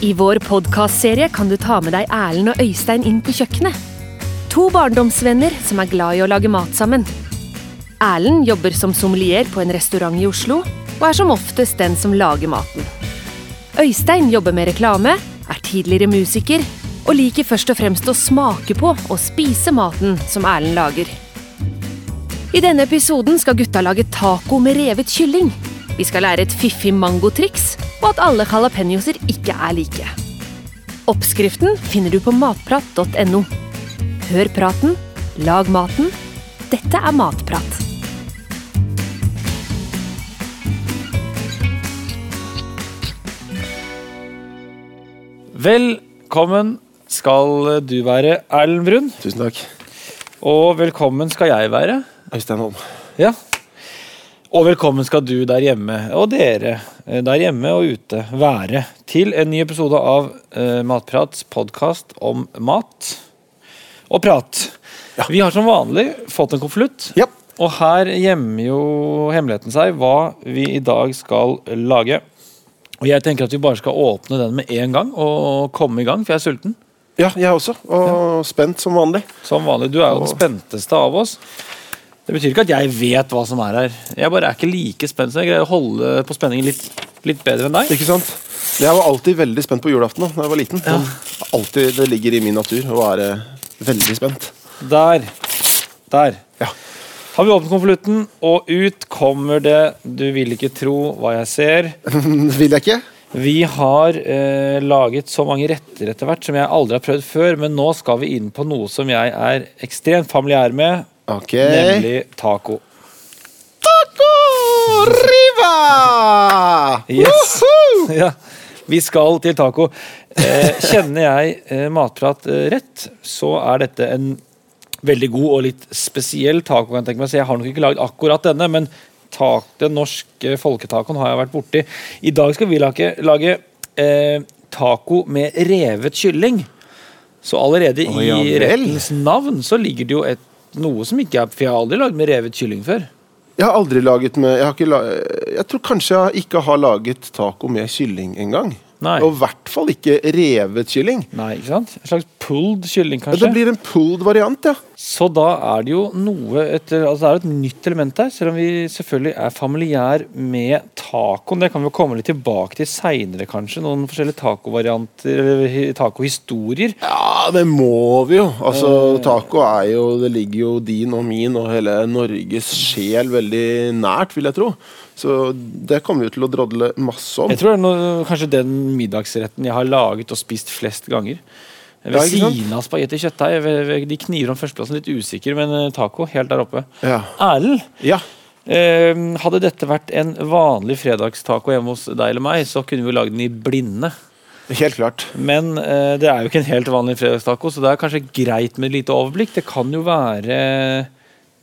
I vår podkastserie kan du ta med deg Erlend og Øystein inn på kjøkkenet. To barndomsvenner som er glad i å lage mat sammen. Erlend jobber som sommelier på en restaurant i Oslo, og er som oftest den som lager maten. Øystein jobber med reklame, er tidligere musiker, og liker først og fremst å smake på og spise maten som Erlend lager. I denne episoden skal gutta lage taco med revet kylling. Vi skal lære et fiffig mangotriks, og at alle jalapeñoser ikke er like. Oppskriften finner du på matprat.no. Hør praten, lag maten. Dette er Matprat. Velkommen skal du være, Erlend Brun. Tusen takk. Og velkommen skal jeg være. Øystein Holm. Ja. Og velkommen skal du der hjemme, og dere eh, der hjemme og ute, være til en ny episode av eh, Matprats podkast om mat og prat. Vi har som vanlig fått en konvolutt, Ja. og her gjemmer jo hemmeligheten seg hva vi i dag skal lage. Og jeg tenker at vi bare skal åpne den med en gang og komme i gang, for jeg er sulten. ja, jeg også. Og spent som vanlig. Som vanlig, du er jo den spenteste av oss. Det betyr ikke at jeg vet hva som er her. Jeg bare er ikke like spent. så Jeg greier å holde på spenningen litt, litt bedre enn deg. Ikke sant? Jeg var alltid veldig spent på julaften da da jeg var liten. Men Alltid, det ligger i min natur å være veldig spent. Der. Der. Ja. Har vi åpnet konvolutten, og ut kommer det Du vil ikke tro hva jeg ser. Vil jeg ikke? Vi har eh, laget så mange retter etter hvert som jeg aldri har prøvd før, men nå skal vi inn på noe som jeg er ekstremt familiær med, Ok. nemlig taco. Taco riva! Yes. Ja. Vi skal til taco. Eh, kjenner jeg eh, matprat eh, rett, så er dette en veldig god og litt spesiell taco. kan Jeg tenke meg, så jeg har nok ikke lagd akkurat denne, men tak, den norske folketacoen har jeg vært borti. I dag skal vi lage, lage eh, taco med revet kylling. Så allerede Å, ja i vel. rettens navn så ligger det jo et, noe som ikke er For jeg har aldri lagd med revet kylling før. Jeg har aldri laget med Jeg, har ikke la, jeg tror kanskje jeg ikke har laget taco med kylling engang. Nei. Og i hvert fall ikke revet kylling. Nei, ikke sant? En slags pulled kylling, Ja, kanskje? Det blir en pulled variant, ja. Så da er det jo noe et, altså det er et nytt element der, selv om vi selvfølgelig er familiær med tacoen. Det kan vi jo komme litt tilbake til seinere, kanskje. Noen forskjellige tacovarianter, eller hi- tacohistorier. Ja, det må vi jo. Altså, Taco er jo Det ligger jo din og min og hele Norges sjel veldig nært, vil jeg tro. Så det kommer vi til å drodle masse om. Jeg tror det er noe, kanskje den middagsretten jeg har laget og spist flest ganger. Ved Ja, ikke sant? siden av spagetti kjøttdeig. ved- ved- De kniver om førsteplassen, litt usikker, men eh, taco helt der oppe. Ja. Erlend, ja. eh, hadde dette vært en vanlig fredagstaco hjemme hos deg eller meg, så kunne vi jo lagd den i blinde. Helt klart. Men eh, det er jo ikke en helt vanlig fredagstaco, så det er kanskje greit med et lite overblikk. Det kan jo være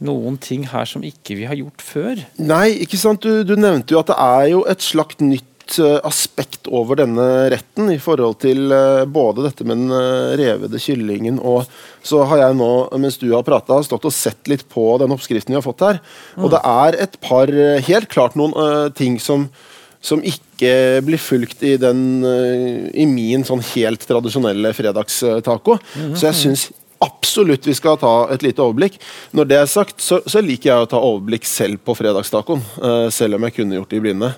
noen ting her som ikke vi har gjort før. Nei, ikke sant. Du, du nevnte jo at det er jo et slags nytt eh, aspekt over denne retten i forhold til eh, både dette med den eh, revede kyllingen og Så har jeg nå, mens du har prata, stått og sett litt på den oppskriften vi har fått her. Og det er et par, eh, helt klart noen eh, ting som som ikke blir fulgt i, den, eh, i min sånn helt tradisjonelle fredagstaco. Så jeg syns absolutt vi skal ta et lite overblikk. Når det er sagt, så, så liker jeg å ta overblikk selv på fredagstacoen. eh, selv om jeg kunne gjort det i blinde.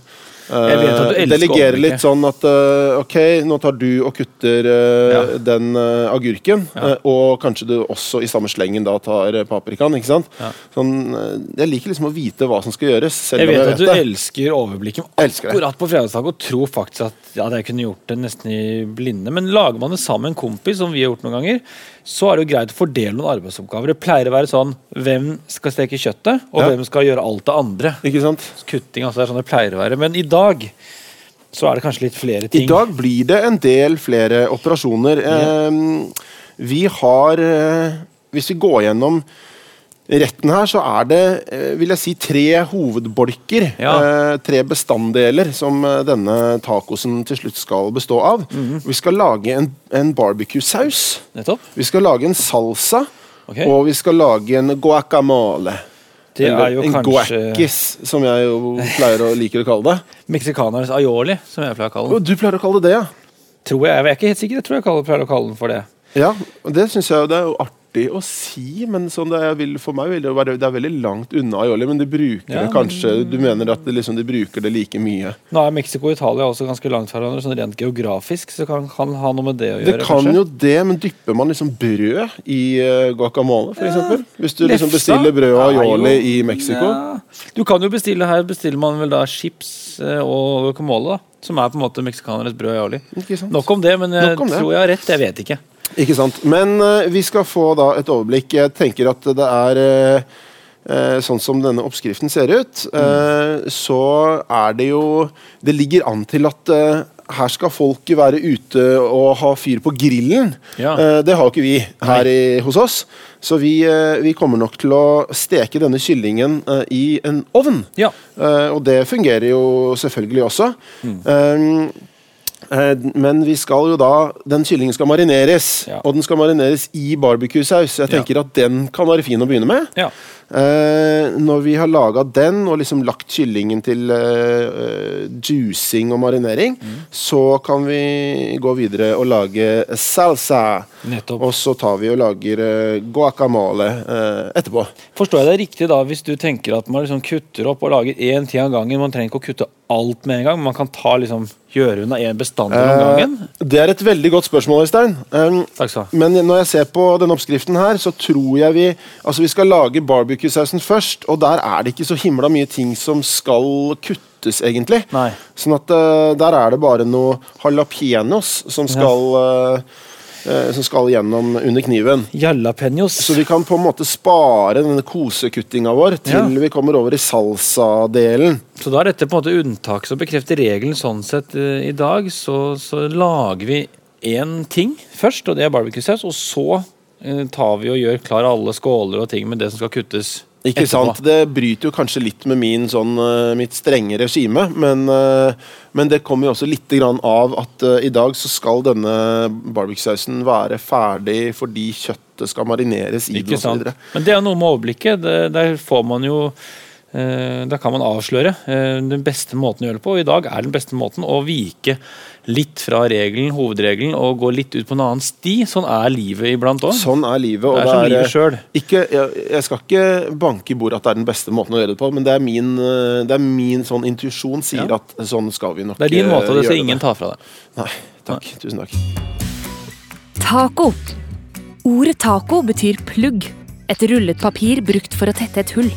Eh, Jeg vet at du elsker Delegere overblikket. litt sånn at eh, ok, nå tar du og kutter eh, Ja. den eh, agurken. eh, og kanskje du også i samme slengen da tar eh, paprikaen. ikke sant? Sånn, eh, jeg liker liksom å vite hva som skal gjøres. Selv Jeg vet om at du det. elsker overblikket Elsker det. akkurat på fredagstaco. Tror faktisk at ja, jeg kunne gjort det nesten i blinde. Men lager man det sammen med en kompis, som vi har gjort noen ganger, så er det jo greit å fordele noen arbeidsoppgaver. Det pleier å være sånn hvem skal steke kjøttet, og Ja. hvem skal gjøre alt det andre. Ikke sant? Kutting, altså det er sånn det pleier å være. Men i dag så er det kanskje litt flere ting. I dag blir det en del flere operasjoner. Ehm, vi har eh, Hvis vi går gjennom retten her, så er det eh, vil jeg si, tre hovedbolker. Ja. eh, tre bestanddeler som eh, denne tacosen til slutt skal bestå av. Mhm. Vi skal lage en, en barbecue-saus. Nettopp. Vi skal lage en salsa. Ok. Og vi skal lage en guacamole. Det er jo en kanskje guacis, som jeg jo pleier å liker å kalle det. meksikanernes aioli, som jeg pleier å kalle Og den. du pleier å kalle det det, ja? Tror jeg, jeg er ikke helt sikker, jeg tror jeg kaller- pleier å kalle den for det. Ja, og det synes jeg jo- det er jo artig å si, men sånn det er, vil, for meg vil det jo være Det er veldig langt unna aioli, men de bruker Ja, det kanskje Du mener at det, liksom, de bruker det like mye? Nå er Mexico og Italia også ganske langt fra hverandre, sånn rent geografisk, så kan kan ha noe med det å gjøre. Det kan kanskje. jo det, men dypper man liksom brød i eh, guacamole, for eksempel? Hvis du liksom Lefsa bestiller brød og er jo- aioli i Mexico? Ja. Du kan jo bestille her bestiller man vel da chips eh, og guacamole, da, som er på en måte meksikaneres brød og aioli. Ikke sant? Nok om det, men jeg Nok om det. tror jeg har rett. Jeg vet ikke. Ikke sant. Men eh, vi skal få da et overblikk. Jeg tenker at det er eh, eh, Sånn som denne oppskriften ser ut, Mm. eh, så er det jo Det ligger an til at eh, her skal folk være ute og ha fyr på grillen. Ja. Eh, det har jo ikke vi her i, hos oss. Så vi, eh, vi kommer nok til å steke denne kyllingen eh, i en ovn. Ja. Eh, og det fungerer jo selvfølgelig også. Eh, eh, men vi skal jo da den kyllingen skal marineres, Ja. og den skal marineres i barbecue-saus. Jeg Ja. tenker at den kan være fin å begynne med. ja. Eh, når vi har laga den og liksom lagt kyllingen til eh, eh, juicing og marinering, så kan vi gå videre og lage salsa. Nettopp. Og så tar vi og lager eh, guacamole eh, etterpå. Forstår jeg deg riktig da, hvis du tenker at man liksom kutter opp og lager én ting av gangen? Man trenger ikke å kutte alt med en gang, men man kan ta liksom, gjøre unna én bestanddel om gangen? Eh, Det er et veldig godt spørsmål, Øystein. Um, Takk skal du ha. men når jeg ser på denne oppskriften her, så tror jeg vi Altså, vi skal lage barbecue-sausen først, og der er det ikke så himla mye ting som skal kuttes, egentlig. Nei. Sånn at eh, der er det bare noe jalapeños som skal eh, eh, Som skal gjennom under kniven. Jalapeños. Så vi kan på en måte spare denne kosekuttinga vår til Ja. vi kommer over i salsa-delen. Så da er dette på en måte unntak som bekrefter regelen sånn sett. eh, I dag så, så lager vi én ting først, og det er barbecue-saus. Og så eh, tar vi og gjør klar alle skåler og ting med det som skal kuttes. Ikke etterpå. sant? Det bryter jo kanskje litt med min, sånn, eh, mitt strenge regime, men, eh, men det kommer jo også litt grann av at eh, i dag så skal denne barbecue-sausen være ferdig fordi kjøttet skal marineres i den Ikke sant? osv. Men det er noe med overblikket. Det, der får man jo eh, Da kan man avsløre eh, den beste måten å gjøre det på. Og i dag er den beste måten å vike litt fra regelen, hovedregelen, og gå litt ut på en annen sti. Sånn er livet iblant òg. Sånn er livet. Og Det er som livet selv. ikke, jeg, jeg skal ikke banke i bordet at det er den beste måten å gjøre det på, men det er min, eh, det er min sånn intuisjon sier Ja. at sånn skal vi nok Det er din eh, måte, og det gjøre skal ingen ta fra deg. Nei, takk. Tusen takk. Taco. Ordet taco betyr plugg, et rullet papir brukt for å tette et hull.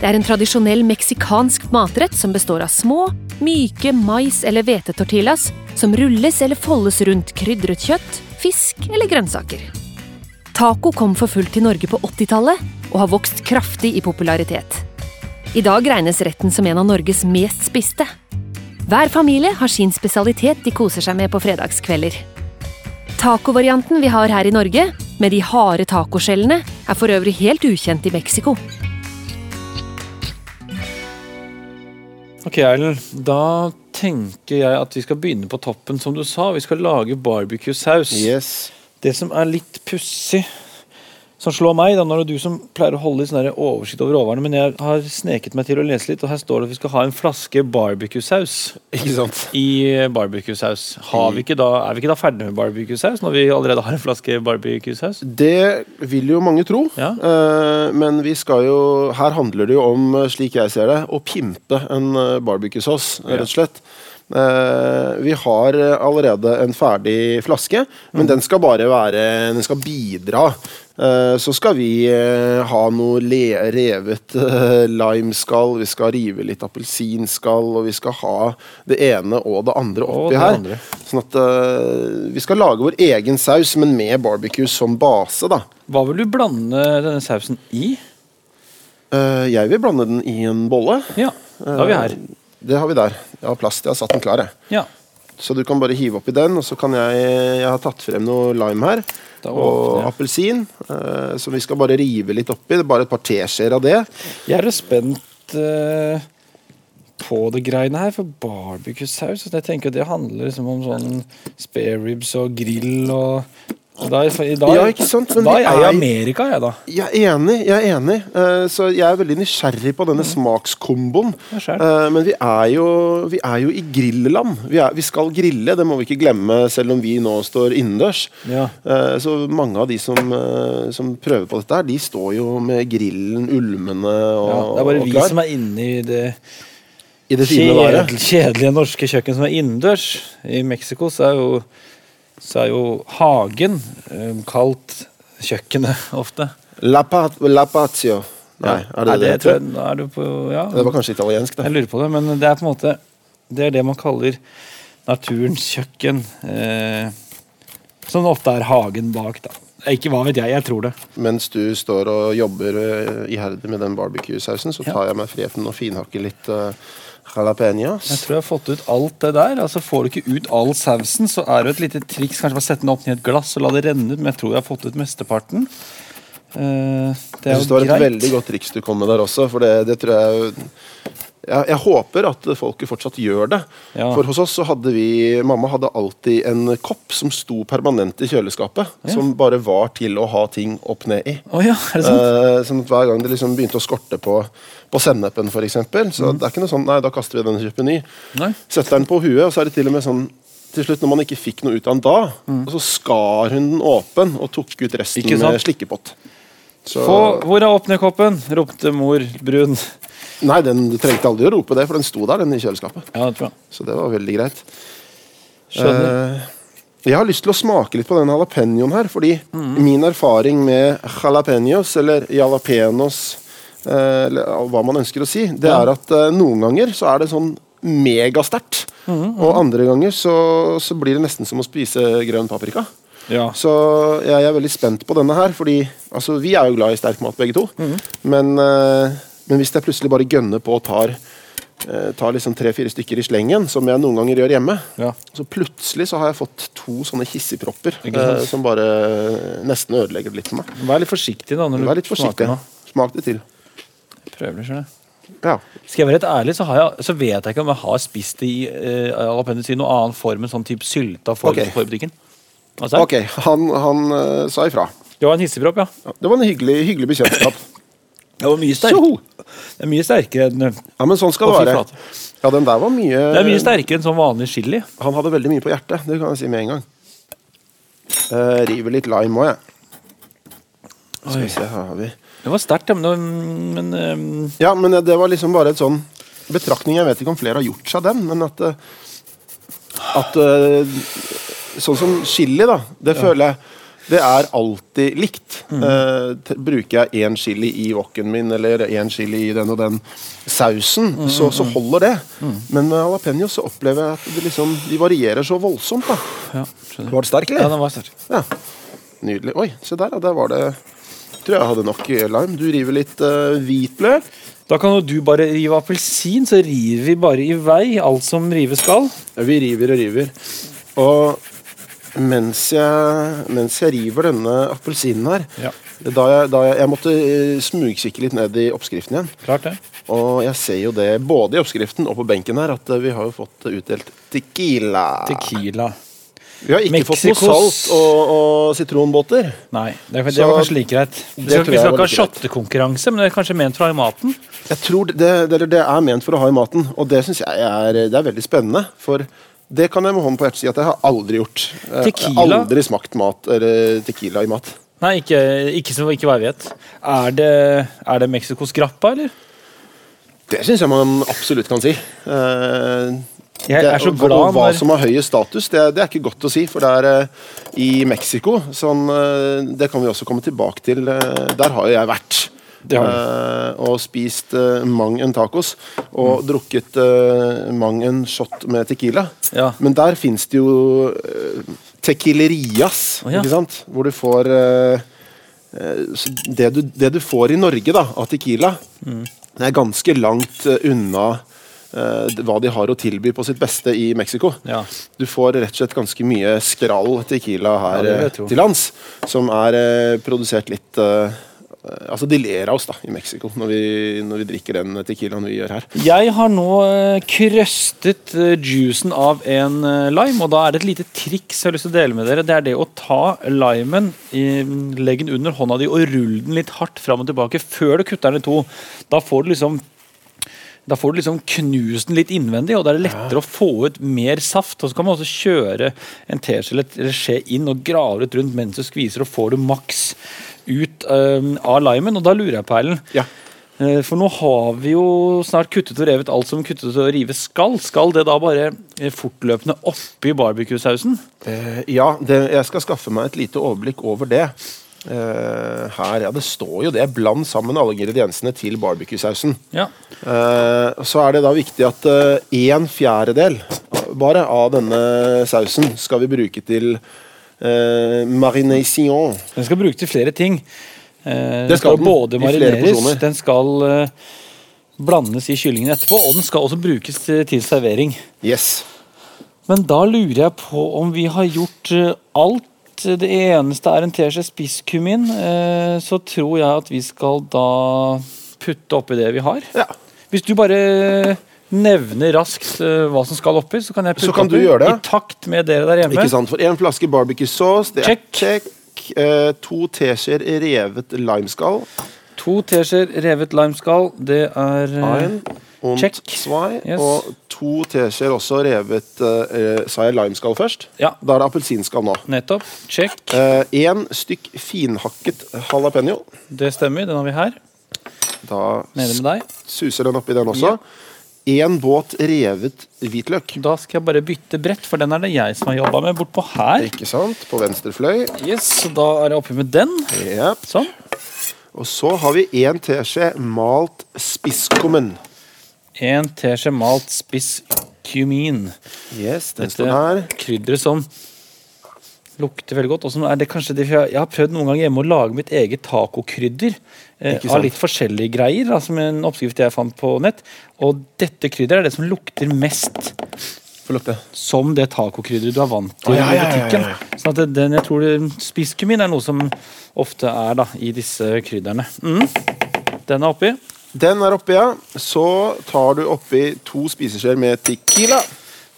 Det er en tradisjonell meksikansk matrett som består av små, myke mais- eller hvetetortillas som rulles eller foldes rundt krydret kjøtt, fisk eller grønnsaker. Taco kom for fullt til Norge på 80-tallet og har vokst kraftig i popularitet. I dag regnes retten som en av Norges mest spiste. Hver familie har sin spesialitet de koser seg med på fredagskvelder. Tacovarianten vi har her i Norge, med de harde tacoskjellene, er for øvrig helt ukjent i Mexico. Ok, Erlend. Da tenker jeg at vi skal begynne på toppen, som du sa. Vi skal lage barbecue-saus. Yes. Det som er litt pussig, som slår meg da, Nå er det du som pleier å holde litt sånn der oversikt over råvarene, men jeg har sneket meg til å lese litt, og her står det at vi skal ha en flaske barbecue-saus Ikke sant? i barbecue-saus. Har vi ikke da, er vi ikke da ferdig med barbecue-saus når vi allerede har en flaske barbecue-saus? Det vil jo mange tro, Ja. eh, men vi skal jo Her handler det jo om, eh, slik jeg ser det, å pimpe en eh, barbecuesaus, eh, rett og slett. Eh, vi har eh, allerede en ferdig flaske, men den skal bare være Den skal bidra. Eh, så skal vi eh, ha noe le revet eh, limeskall, vi skal rive litt appelsinskall, og vi skal ha det ene og det andre Og oppi det her. andre. Sånn at eh, Vi skal lage vår egen saus, men med barbecue som base. da. Hva vil du blande denne sausen i? Eh, jeg vil blande den i en bolle. Ja, da er vi her. Eh, Det har vi der. Jeg har plast. Jeg har satt den klar. jeg. Ja, Så du kan bare hive oppi den, og så kan jeg Jeg har tatt frem noe lime her. Da åpner Og jeg. appelsin, eh, som vi skal bare rive litt oppi. Det er bare et par teskjeer av det. Jeg er jo spent eh, på det greiene her, for barbecue-saus altså, Jeg tenker at det handler liksom om sånn spareribs og grill og Og Da, er- i dag, Ja, ikke sant, men da vi er jeg i er- Amerika, jeg, da. Jeg er enig. jeg er enig Eh, Så jeg er veldig nysgjerrig på Mm. denne smakskomboen. Ja, skjønt. Eh, Men vi er jo, vi er jo i grilleland. Vi, er, vi skal grille, det må vi ikke glemme selv om vi nå står innendørs. Ja. Eh, Så mange av de som, eh, som prøver på dette, her de står jo med grillen ulmende og, Ja, det er bare og vi klar. som er inne i det I det fine været. kjedelige, kjedelige norske kjøkken som er innendørs. I Mexico så er jo, så er jo hagen eh, kalt kjøkkenet ofte. La, pat, la patio. Nei, er det Nei, det? det tror heter? jeg, da er du på, ja. det var kanskje italiensk, det. Jeg lurer på det, men det er på en måte Det er det man kaller naturens kjøkken. Eh, som ofte er hagen bak, da. Ikke hva vet jeg, jeg tror det. Mens du står og jobber eh, iherdig med den barbecue-sausen, så Ja. tar jeg meg friheten og finhakker litt uh, jalapeños. Jeg tror jeg har fått ut alt det der. altså Får du ikke ut all sausen, så er det et lite triks kanskje bare sette den opp i et glass og la det renne ut, men jeg tror jeg har fått ut mesteparten. Eh, det Jeg er synes jo det var et greit. veldig godt triks du kom med der også, for det, det tror jeg jeg, jeg håper at folket fortsatt gjør det. Ja. For hos oss så hadde vi Mamma hadde alltid en kopp som sto permanent i kjøleskapet. Som bare var til å ha ting opp ned i. Å ja, er det sant? Eh, sånn at Hver gang det liksom begynte å skorte på, på sennepen, f.eks. Så Mm. det er ikke noe sånn Nei, da kaster vi den og kjøper ny. Eh, Nei. Setter den på huet, og så er det til og med sånn til slutt, når man ikke fikk noe ut av den da, og så skar hun den åpen og tok ut resten Mm. Ikke sant? med slikkepott. Så- Få, hvor er åpnekoppen? ropte mor Brun. Nei, den, du trengte aldri å rope det, for den sto der, den i kjøleskapet. Ja, det tror jeg. Så det var veldig greit. Skjønner. Eh, jeg har lyst til å smake litt på den jalapeñoen her, fordi Mm. min erfaring med jalapeños, eller jalapeños, eh, eller hva man ønsker å si, det Ja. er at eh, noen ganger så er det sånn megasterkt, Mm, og andre ganger så, så blir det nesten som å spise grønn paprika. ja. Så jeg er veldig spent på denne her, fordi altså, vi er jo glad i sterk mat begge to. Mhm. Men, eh, men hvis jeg plutselig bare gønner på og tar, eh, tar liksom tre-fire stykker i slengen, som jeg noen ganger gjør hjemme, Ja. så plutselig så har jeg fått to sånne hissigpropper Ikke sant? eh, som bare nesten ødelegger det litt for meg. Vær litt forsiktig da når du Vær litt forsiktig. smaker nå. Smak det til. Prøver det, skjønner jeg. Ja. Skal jeg være helt ærlig, så, har jeg, så vet jeg ikke om jeg har spist det i eh, jalapeños i noen annen form enn sånn type sylta form Ok. for i butikken. Altså, Ok, han, han eh, sa ifra. Det var en hissigpropp, ja. Ja, Det var en hyggelig, hyggelig bekjentskap. Det var mye sterk. Tjoho! Det er mye sterkere enn eh, Det Ja, men sånn skal Å, fy det være. flate. Ja, den der var mye, er mye sterkere enn sånn vanlig chili. Han hadde veldig mye på hjertet, det kan jeg si med en gang. Eh, river litt lime òg, jeg. Skal vi se, her har vi Det var sterkt, ja, men, det- men ehm, Ja, men det- det var liksom bare et sånn betraktning. Jeg vet ikke om flere har gjort seg den, men at eh, At eh, Sånn som chili, da. Det føler jeg det er alltid likt. Eh, t bruker jeg én chili i woken min eller én chili i den og den sausen, så, så holder det. Men med jalapeño så opplever jeg at det liksom, de varierer så voldsomt. da. ja, skjønner. Var det sterk, Ja, den var sterk. Ja. Nydelig. Oi, se der, ja. Der var det Tror jeg jeg hadde nok lime. Du river litt eh, hvitløk. Da kan jo du bare rive appelsin, så river vi bare i vei alt som rives skal. Ja, vi river og river. Og mens jeg, mens jeg river denne appelsinen her Ja. da, jeg, da jeg, jeg måtte eh, smugkikke litt ned i oppskriften igjen. Klart det. Og jeg ser jo det både i oppskriften og på benken her, at eh, vi har jo fått utdelt tequila. Ah. Tequila. Vi har ikke fått noe Mexicos- salt og, og sitronbåter. Nei, det, er- det Så- var kanskje like greit. Vi Det skal, tror vi jeg skal ikke ha var like greit. shottekonkurranse, men det er kanskje ment for å ha i maten. Jeg tror det, det, eller det er ment for å ha i maten, og det syns jeg er, det er veldig spennende. For det kan jeg med hånden på hjertet si at jeg har aldri gjort. Eh, Jeg har Tequila? aldri smakt mat, eller tequila i mat. Nei, ikke, ikke som ikke hva jeg vet. Er det, er det Mexicos grappa, eller? Det syns jeg man absolutt kan si. Eh, Jeg det- er så og- glad og Hva når- som har høyest status, det, det er ikke godt å si. For det er eh, i Mexico sånn, eh, Det kan vi også komme tilbake til. eh, der har jo jeg vært. Det har du. Eh, og spist eh, mang en tacos. Og Mm. drukket eh, mang en shot med tequila. Ja. Men der fins det jo eh, tequilerias, Å, ja. ikke sant? Hvor du får eh, eh, så det, du, det du får i Norge da, av Tequila, det er ganske langt eh, unna eh, d- hva de har å tilby på sitt beste i Mexico. Ja. Du får rett og slett ganske mye skrall Tequila Ja, her det vil jeg eh, tro. til lands, som er eh, produsert litt eh, eh, Altså, de ler av oss da, i Mexico når vi, når vi drikker den tequilaen vi gjør her. Jeg har nå eh, krøstet eh, juicen av en eh, lime, og da er det et lite triks jeg har lyst til å dele med dere. Det er det å ta limen, i- legge den under hånda di og rulle den litt hardt fram og tilbake før du kutter den i to. Da får du liksom da får du liksom knust den litt innvendig, og da er det lettere å få ut mer saft. Og så kan man også kjøre en teskje eller eller skje inn og grave litt rundt mens du skviser, og får du maks ut eh, av limen. Og da lurer jeg på, Erlend Ja. Eh, For nå har vi jo snart kuttet og revet alt som kuttet og rives skal. Skal det da bare eh, fortløpende oppi barbecue-sausen? Eh, ja, det, jeg skal skaffe meg et lite overblikk over det. Eh, her, ja, Det står jo det. Bland sammen alle ingrediensene til barbecuesausen. Ja. Eh, så er det da viktig at eh, en fjerdedel bare av denne sausen skal vi bruke til eh, marination. Den skal brukes til flere ting. Eh, Den Det skal skal den, både i flere marineres, porsjoner. den skal eh, blandes i kyllingen etterpå, og den skal også brukes eh, til, til servering. Yes. Men da lurer jeg på om vi har gjort eh, alt. Det eneste er en teskje spisskummin. eh, Så tror jeg at vi skal da putte oppi det vi har. Ja. Hvis du bare nevner raskt eh, hva som skal oppi, så kan jeg Så putte kan du oppi gjøre det. i takt med dere der hjemme. Ikke sant? For én flaske barbecuesauce, det er Check. check. Eh, to teskjeer revet limeskall. To teskjeer revet limeskall. Det er eh, Ein und Check. zwei. Yes. Og to teskjeer også revet eh, eh, Sa jeg limeskall først? Ja. Da er det appelsinskall nå. nettopp. Check. Én stykk finhakket jalapeño. Det stemmer. Den har vi her. Da Nede med deg. suser den oppi den også. Én båt revet hvitløk. Da skal jeg bare bytte brett, for den er det jeg som har jobba med bortpå her. Ikke sant? På venstre fløy. Yes, så Da er jeg oppi med den. Ja. Sånn. Og så har vi én teskje malt spisskummen. En teskje malt spiss kumin. Yes, den Dette står her. krydderet som lukter veldig godt. Og som er det kanskje det, jeg har prøvd noen gang hjemme å lage mitt eget tacokrydder. Eh, Ikke sant. av litt forskjellige greier, da, som en oppskrift jeg fant på nett. Og dette krydderet er det som lukter mest Få lukte. som det tacokrydderet du er vant til Å, ja, i ja, ja, ja, butikken. ja. Sånn at det- den jeg tror det- Spisskummin er noe som ofte er da, i disse krydderne. Mm. Den er oppi. Den er oppi, ja. Så tar du oppi to spiseskjeer med tequila.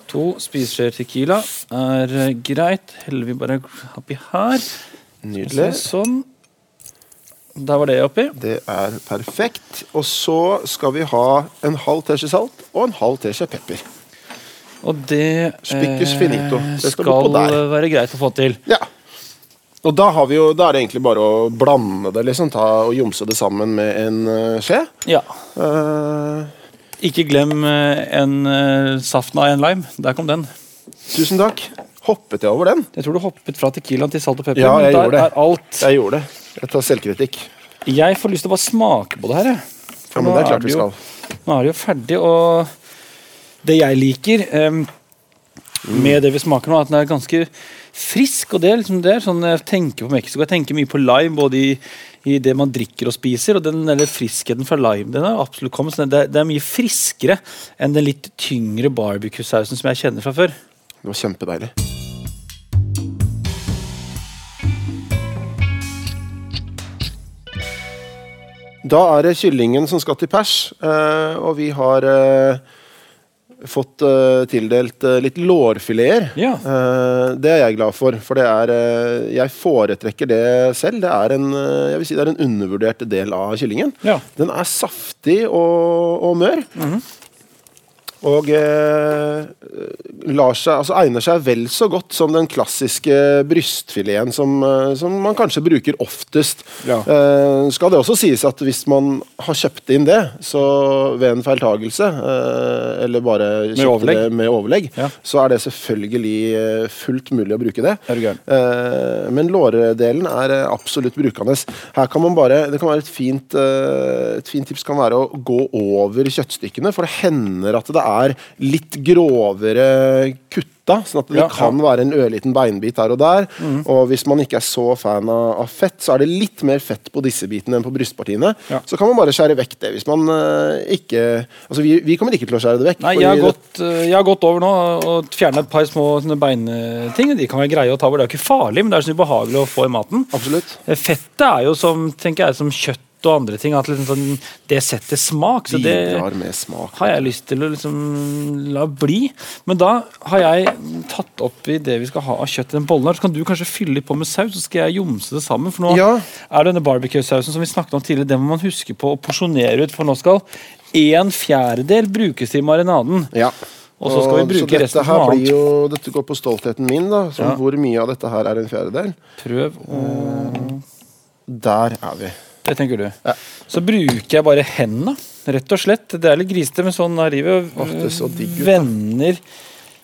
To spiseskjeer tequila er eh, greit. Heller vi bare oppi her. Nydelig. Sånn. Der var det oppi. Det er perfekt. Og så skal vi ha en halv teskje salt og en halv teskje pepper. Og det eh, Stykkes finito. Det skal skal oppå der. eh, være greit å få til. Ja. Og da, har vi jo, da er det egentlig bare å blande det, liksom. Ta og jomse det sammen med en eh, skje. Ja. Eh, Ikke glem eh, en eh, saften av en lime. Der kom den. tusen takk. Hoppet jeg over den? Jeg tror du hoppet fra tequilaen til salt og pepper. Ja, men jeg der gjorde det. er alt. Jeg gjorde det. Jeg tar selvkritikk. Jeg får lyst til å bare smake på det her. jeg. For Ja, men nå det er klart vi jo- skal. Nå er det jo ferdig, og det jeg liker em, med det vi smaker nå, er at den er ganske frisk. og det er liksom det er sånn Jeg tenker på Mexico, jeg tenker mye på lime, både i, i det man drikker og spiser, og den eller friskheten fra lime den er absolutt kommet. Så det, er- det er mye friskere enn den litt tyngre barbecue-sausen som jeg kjenner fra før. Det var kjempedeilig. Da er det kyllingen som skal til pers, eh, og vi har eh, fått eh, tildelt eh, litt lårfileter. Ja. Eh, Det er jeg glad for, for det er eh, Jeg foretrekker det selv. Det er en, eh, jeg vil si det er en undervurdert del av kyllingen. Ja. Den er saftig og, og mør. Og eh, lar seg, altså egner seg vel så godt som den klassiske brystfileten som, eh, som man kanskje bruker oftest. Ja. Eh, skal det også sies at hvis man har kjøpt inn det, så ved en feiltagelse, eh, eller bare kjøpte overlegg. det med overlegg, Ja. så er det selvfølgelig eh, fullt mulig å bruke det. Er du gæren? Eh, men låredelen er eh, absolutt brukende. Her kan man bare, det kan være et fint, eh, et fint tips kan være å gå over kjøttstykkene, for det hender at det er litt grovere kutta, sånn at det Ja, Mhm. kan være en ørliten beinbit her og der. Og hvis man ikke er så fan av, av fett, så er det litt mer fett på disse bitene enn på brystpartiene. Ja. Så kan man bare skjære vekk det hvis man eh, ikke Altså, vi, vi kommer ikke til å skjære det vekk. Nei, fordi jeg har, det- gått, eh, jeg har gått over nå og fjernet et par små sånne beinting. De kan være greie å ta over, det er jo ikke farlig, men det er så ubehagelig å få i maten. Absolutt. Fettet er jo som, tenker jeg, som kjøtt kjøtt og andre ting. At liksom sånn, det setter smak. Så det Bidrar med smak. har jeg lyst til å liksom la bli. Men da har jeg tatt opp i det vi skal ha av kjøtt i den bollen her. Så kan du kanskje fylle litt på med saus, så skal jeg jomse det sammen. For nå Ja. er denne barbecue-sausen som vi snakket om tidligere, den må man huske på å porsjonere ut. For nå skal en fjerdedel brukes i marinaden. Ja. Og så skal vi bruke dette resten til her noe blir annet. jo, Dette går på stoltheten min, da. Som Ja. Hvor mye av dette her er en fjerdedel? Prøv å Der er vi. Det tenker du. Ja. Så bruker jeg bare hendene, rett og slett. Det er litt grisete, men sånn er livet. Åh, det er så digg ut, da. Vender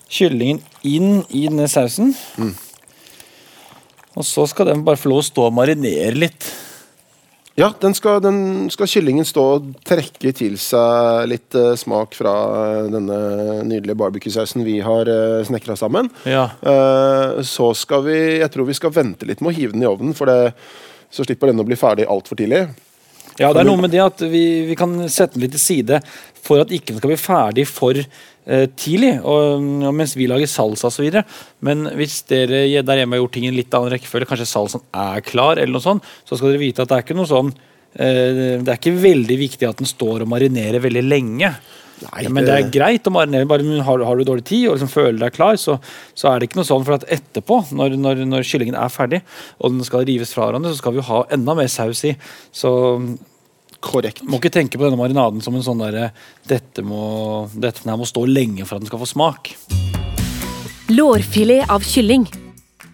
kyllingen inn i denne sausen. Mm. Og så skal den bare få lov å stå og marinere litt. Ja, den skal, den skal kyllingen stå og trekke til seg litt eh, smak fra eh, denne nydelige barbecuesausen vi har uh, snekra sammen. Ja. Eh, så skal vi Jeg tror vi skal vente litt med å hive den i ovnen, for det, så slipper den å bli ferdig altfor tidlig. Ja, det er noe med det at vi, vi kan sette den litt til side for at ikke den skal bli ferdig for eh, tidlig, og, og mens vi lager salsa osv. Men hvis dere je- der hjemme har gjort ting i en litt annen rekkefølge, kanskje salsaen er klar, eller noe sånt, så skal dere vite at det er ikke noe sånn eh, det er ikke veldig viktig at den står og marinerer veldig lenge. Nei, Ja, men det er det- greit å marinere, bare men har, har du dårlig tid og liksom føler deg klar, så, så er det ikke noe sånn. For at etterpå, når, når, når kyllingen er ferdig og den skal rives fra hverandre, så skal vi jo ha enda mer saus i. Så mm, Korrekt. må ikke tenke på denne marinaden som en sånn derre dette, må- dette her må stå lenge for at den skal få smak. Lårfilet av kylling.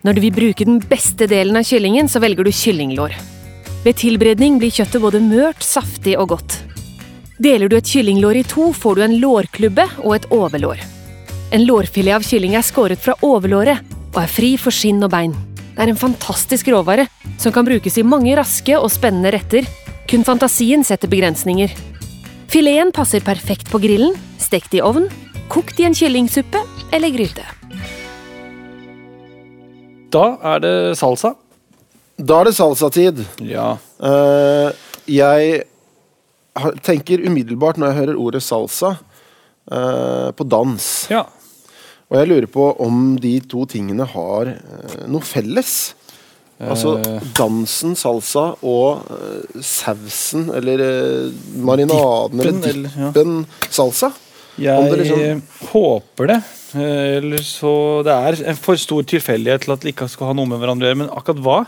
Når du vil bruke den beste delen av kyllingen, så velger du kyllinglår. Ved tilberedning blir kjøttet både mørt, saftig og godt. Deler du et kyllinglår i to, får du en lårklubbe og et overlår. En lårfilet av kylling er skåret fra overlåret og er fri for skinn og bein. Det er en fantastisk råvare som kan brukes i mange raske og spennende retter. Kun fantasien setter begrensninger. Fileten passer perfekt på grillen, stekt i ovn, kokt i en kyllingsuppe eller gryte. Da er det salsa. Da er det salsatid. Ja. Eh, jeg har, tenker umiddelbart når jeg hører ordet salsa, eh, på dans. ja. Og jeg lurer på om de to tingene har eh, noe felles. Altså Eh. dansen salsa og eh, sausen eller eh, marinaden Dippen, eller eller- ja. dippen salsa. Om Jeg det liksom- håper det. Eh, Eller så Det er en for stor tilfeldighet til at det ikke skal ha noe med hverandre å gjøre, men akkurat hva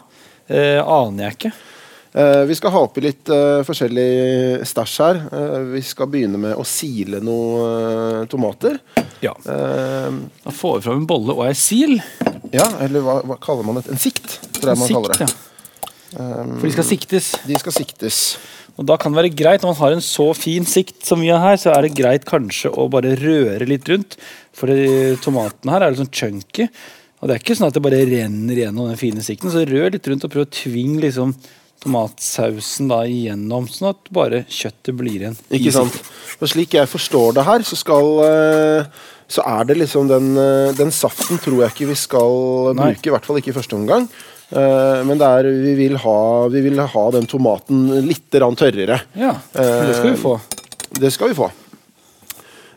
eh, aner jeg ikke. Eh, vi skal ha oppi litt eh, forskjellig stæsj her. Eh, vi skal begynne med å sile noen tomater. Ja. Eh, Da får vi fram en bolle og ei sil. Ja, eller hva, hva kaller man det? En sikt, tror jeg man kaller det. Um, For de skal siktes. De skal siktes. Og da kan det være greit, Når man har en så fin sikt som vi har her, så er det greit kanskje å bare røre litt rundt. For det- tomaten her er litt sånn chunky. Og det er ikke sånn at det bare renner gjennom den fine sikten. Så rør litt rundt og prøv å tvinge liksom tomatsausen da igjennom, sånn at bare kjøttet blir igjen. i Ikke sant? sikten. Og slik jeg forstår det her, så skal eh, Så er det liksom den, eh, den saften tror jeg ikke vi skal Nei. bruke, i hvert fall ikke i første omgang. Eh, Men det er, vi, vil ha, vi vil ha den tomaten litt grann tørrere. Ja, det skal vi få. Det skal vi få.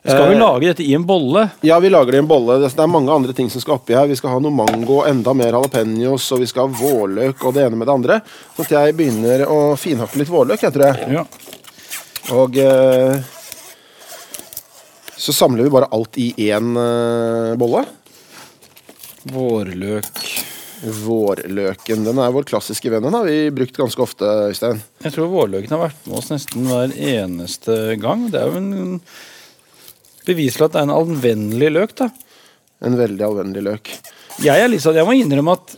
Vi skal eh, vi lage dette i en bolle? Ja, vi lager det i en bolle. Det det er mange andre ting som skal oppi her. Vi skal ha noe mango, enda mer jalapeños, og vi skal ha vårløk og det ene med det andre. Sånn at jeg begynner å finhakke litt vårløk, jeg tror jeg. Ja. Og eh, så samler vi bare alt i én eh, bolle. Vårløk Vårløken. Den er vår klassiske venn. Den har vi brukt ganske ofte, Øystein. Jeg tror vårløken har vært med oss nesten hver eneste gang. Det er jo en bevis for at det er en anvendelig løk. da. En veldig alvennlig løk. Jeg, er litt sånn, jeg må innrømme at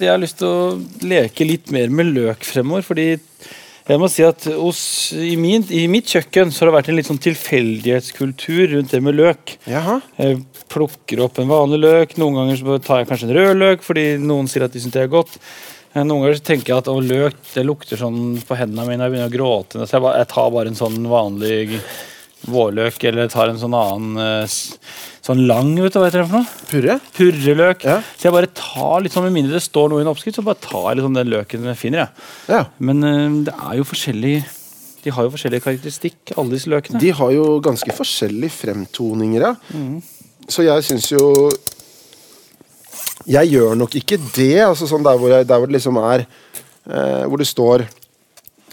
jeg har lyst til å leke litt mer med løk fremover. fordi jeg må si at hos, i, min, i mitt kjøkken så har det vært en litt sånn tilfeldighetskultur rundt det med løk. Jaha. Jeg plukker opp en vanlig løk, noen ganger så bare tar jeg kanskje en rød løk fordi noen sier at de syns det er godt. Eh, Noen ganger så tenker jeg at å, løk det lukter sånn på hendene mine, jeg begynner å gråte. Så jeg, bare, jeg tar bare en sånn vanlig vårløk, eller jeg tar en sånn annen eh, s- sånn lang, vet du hva heter det for noe? Purre? Purreløk. Ja. Så jeg bare tar litt sånn, Med mindre det står noe i en oppskrift, så bare tar jeg liksom den løken jeg finner. jeg. Ja. Men eh, det er jo forskjellig De har jo forskjellig karakteristikk, alle disse løkene. De har jo ganske forskjellige fremtoninger, ja. Så jeg syns jo Jeg gjør nok ikke det, altså sånn der hvor, jeg, der hvor det liksom er eh, Hvor det står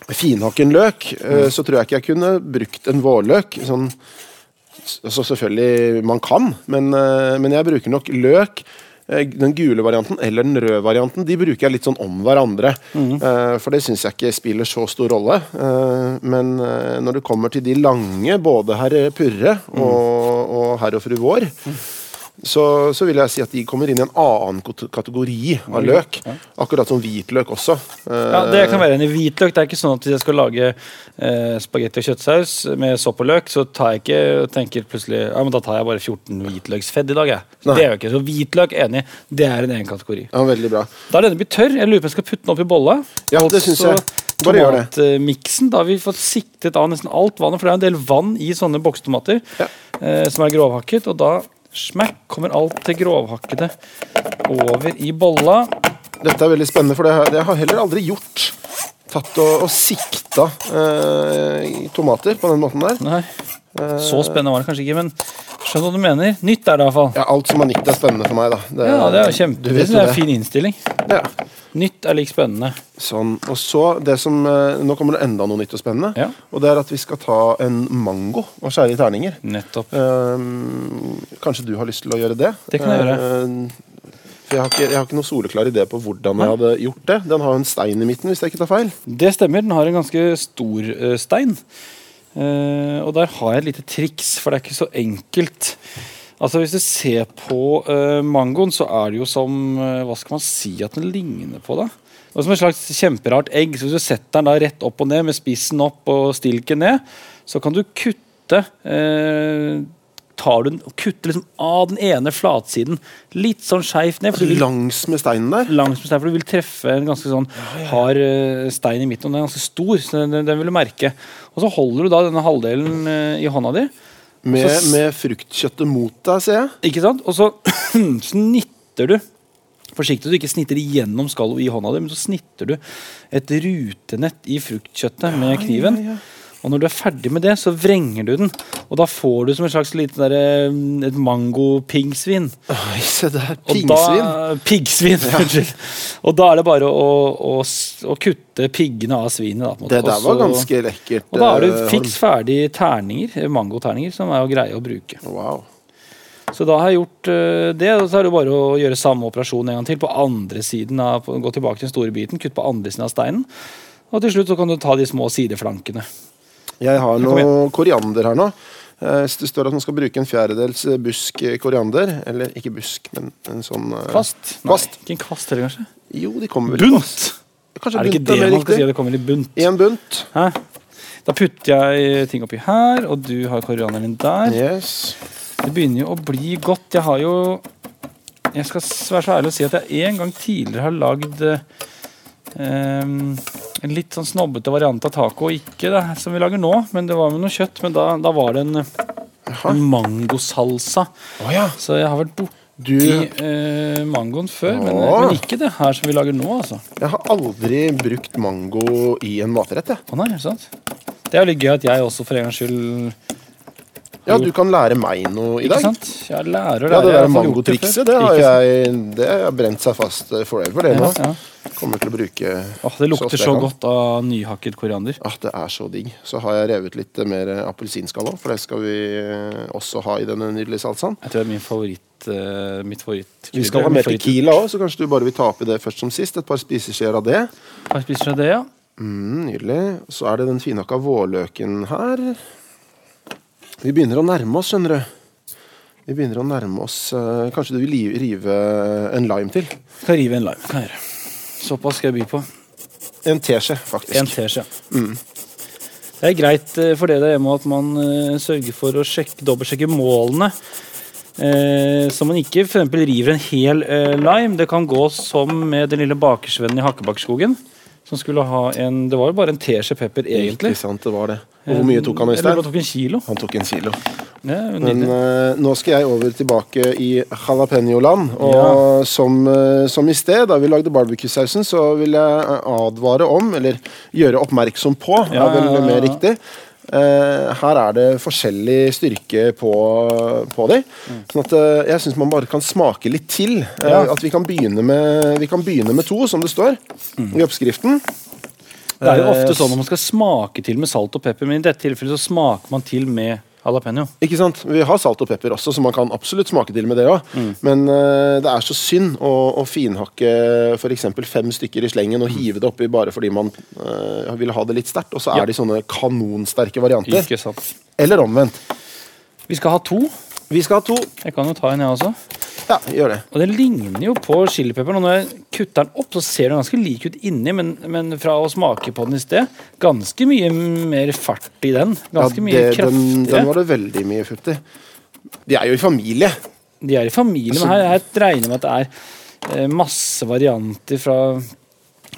finhakken løk, eh, så tror jeg ikke jeg kunne brukt en vårløk. Sånn, så selvfølgelig man kan, men, eh, men jeg bruker nok løk. eh, Den gule varianten eller den røde varianten de bruker jeg litt sånn om hverandre. Mhm. Eh, For det syns jeg ikke spiller så stor rolle. Eh, Men eh, når det kommer til de lange, både herr Purre Mhm. og, og herr og fru Vår, så, så vil jeg si at de kommer inn i en annen kate- kategori av løk. Akkurat som hvitløk også. Eh, Ja, Det kan være enig i. Hvitløk det er ikke sånn at hvis jeg skal lage eh, spagetti og kjøttsaus med sopp og løk, så tar jeg ikke og tenker plutselig ja, men da tar jeg bare 14 hvitløksfedd i dag. Jeg. Så Nei. det gjør jeg ikke. Så hvitløk, enig, det er en egen kategori. Ja, veldig bra. Da er denne blitt tørr. Jeg lurer på om jeg skal putte den opp i bolla. Ja, det synes jeg. Bare gjør det. Tomatmiksen. Da har vi fått siktet av nesten alt vannet, for det er en del vann i sånne bokstomater Ja. eh, som er grovhakket, og da smakk kommer alt det grovhakkede over i bolla. Dette er veldig spennende, for det har det har jeg heller aldri gjort. Tatt og, og sikta eh, tomater på den måten der. Nei. Så spennende var det kanskje ikke, men skjønner hva du mener. Nytt er det iallfall. Ja, alt som er nytt, er spennende for meg, da. Det, Ja, det er jo du kjempe, det vet er jo en fin innstilling. Ja. Nytt er lik spennende. Sånn. Og så det som eh, Nå kommer det enda noe nytt og spennende. Ja. Og det er at vi skal ta en mango og skjære i terninger. Nettopp. Ehm, kanskje du har lyst til å gjøre det? Det kan jeg gjøre. Ehm, for jeg har, ikke, jeg har ikke noe soleklar idé på hvordan jeg hadde gjort det. Den har jo en stein i midten, hvis jeg ikke tar feil. Det stemmer, den har en ganske stor eh, stein. Eh, og der har jeg et lite triks, for det er ikke så enkelt. Altså Hvis du ser på eh, mangoen, så er det jo som eh, Hva skal man si at den ligner på, da? Det er som et slags kjemperart egg. så Hvis du setter den da rett opp og ned, med spissen opp og stilken ned, så kan du kutte eh, Tar du den og kutter liksom av den ene flatsiden litt sånn skeivt ned. for du vil Langs med steinen der. langs med stein, for du vil treffe en ganske sånn hard eh, stein i midten. Og den er ganske stor, så den, den vil du merke. Og så holder du da denne halvdelen eh, i hånda di, Med, Så Altså s- med fruktkjøttet mot deg, ser jeg. ikke sant? Og så snitter du. Forsiktig så du ikke snitter gjennom skallet i hånda di, men så snitter du et rutenett i fruktkjøttet med kniven. ja, ja. Og når du er ferdig med det, så vrenger du den. Og da får du som et slags lite der, eh, et mangopingsvin. Oi, se der. Og Pingsvin. Da, piggsvin, unnskyld. Og da er det bare å, å, s- å kutte piggene av svinet. Da, på en måte. Det der Og var så- ganske lekkert. Og da er du eh, fiks ferdig terninger, eh, mangoterninger, som er jo greie å bruke. Holm. Wow. Så da har jeg gjort eh, det, og så er det bare å gjøre samme operasjon en gang til. På andre siden av, på- Gå tilbake til den store biten, kutt på andre siden av steinen. Og til slutt så kan du ta de små sideflankene. Jeg har kom noe koriander her nå. Eh, s- Det står at man skal bruke en fjerdedels eh, busk eh, koriander. Eller ikke busk, men en sånn eh, Kvast? Kvast. Nei, ikke en kvast heller, kanskje. Jo, de kommer vel Bunt! Kanskje Er det ikke bunt er det mer man skal si? riktig? at Det kommer i bunt. En bunt. Hæ? Da putter jeg ting oppi her, og du har korianderen din der. Yes. Det begynner jo å bli godt. Jeg har jo Jeg skal s- være så ærlig å si at jeg en gang tidligere har lagd eh, em, en litt sånn snobbete variant av taco. Ikke det som vi lager nå, men det var med noe kjøtt. Men da, da var det en, en mangosalsa. Å ja. Så jeg har vært borti Du, eh, mangoen før, men, Åh. men ikke det her som vi lager nå, altså. jeg har aldri brukt mango i en matrett, jeg. Å nei, er det sant? Det er jo litt gøy at jeg også for en gangs skyld Ja, du kan lære meg noe i Ikke dag. sant? Jeg lærer Ja, det jeg har i der hvert fall gjort det mangotrikset, før. det har Ikke sant? jeg Det har brent seg fast eh, forever, det nå. Ja, ja. Kommer til å bruke Åh, det lukter Sås, det så kan. godt av nyhakket koriander. Ah, det er så digg. Så har jeg revet litt eh, mer eh, appelsinskall òg, for det skal vi eh, også ha i denne nydelige salsaen. Jeg tror det er min favoritt, eh, mitt favoritt Vi skal ha min mer favoritt- tequila òg, så kanskje du bare vil ta oppi det først som sist. Et par spiseskjeer av det. Hva spiser du det, ja? Mm, nydelig. Så er det den finhakka vårløken her. Vi begynner å nærme oss, skjønner du. Vi begynner å nærme oss eh, Kanskje du vil li- rive en lime til? Skal rive en lime. Kan jeg gjøre. Såpass skal jeg by på. En teskje, En faktisk. Mm. teskje. Det er greit eh, for dere der hjemme at man eh, sørger for å sjekke, dobbeltsjekke målene. Eh, så man ikke for eksempel river en hel eh, lime. Det kan gå som med den lille bakersvennen i Hakkebakkeskogen. Som skulle ha en Det var jo bare en teskje pepper, egentlig. Ikke sant, det var det. Og Hvor mye tok han, Jeg lurer på om Øystein? han tok en kilo. Han tok en kilo. Ja, Men nydelig. eh, nå skal jeg over tilbake i jalapeño-land. Og Ja. som, eh, som i sted, da vi lagde barbecue-sausen, så vil jeg eh, advare om, eller gjøre oppmerksom på, Ja, er vel ja, ja, mer ja. riktig. Eh, her er det forskjellig styrke på, på de. Sånn at eh, jeg syns man bare kan smake litt til. Eh, Mm. Ja. Mm. At vi kan, begynne med, vi kan begynne med to, som det står i oppskriften. Det er jo ofte sånn når man skal smake til med salt og pepper, men i dette tilfellet så smaker man til med jalapeño. Ikke sant? Vi har salt og pepper også, så man kan absolutt smake til med det òg. Mm. Men eh, det er så synd å, å finhakke f.eks. fem stykker i slengen Mm. og hive det oppi bare fordi man eh, vil ha det litt sterkt, og så er Ja. de sånne kanonsterke varianter. Ikke sant. Eller omvendt. Vi skal ha to. Vi skal ha to. Jeg kan jo ta en, jeg også. Ja, gjør det. Og den ligner jo på chilipepperen. Og når jeg kutter den opp, så ser den ganske lik ut inni, men, men fra å smake på den i sted, ganske mye mer fart i den. Ja, Ganske mye det- den, kraftigere. den var det veldig mye futt i. De er jo i familie. De er i familie, men Altså- her, her regner jeg med at det er eh, masse varianter fra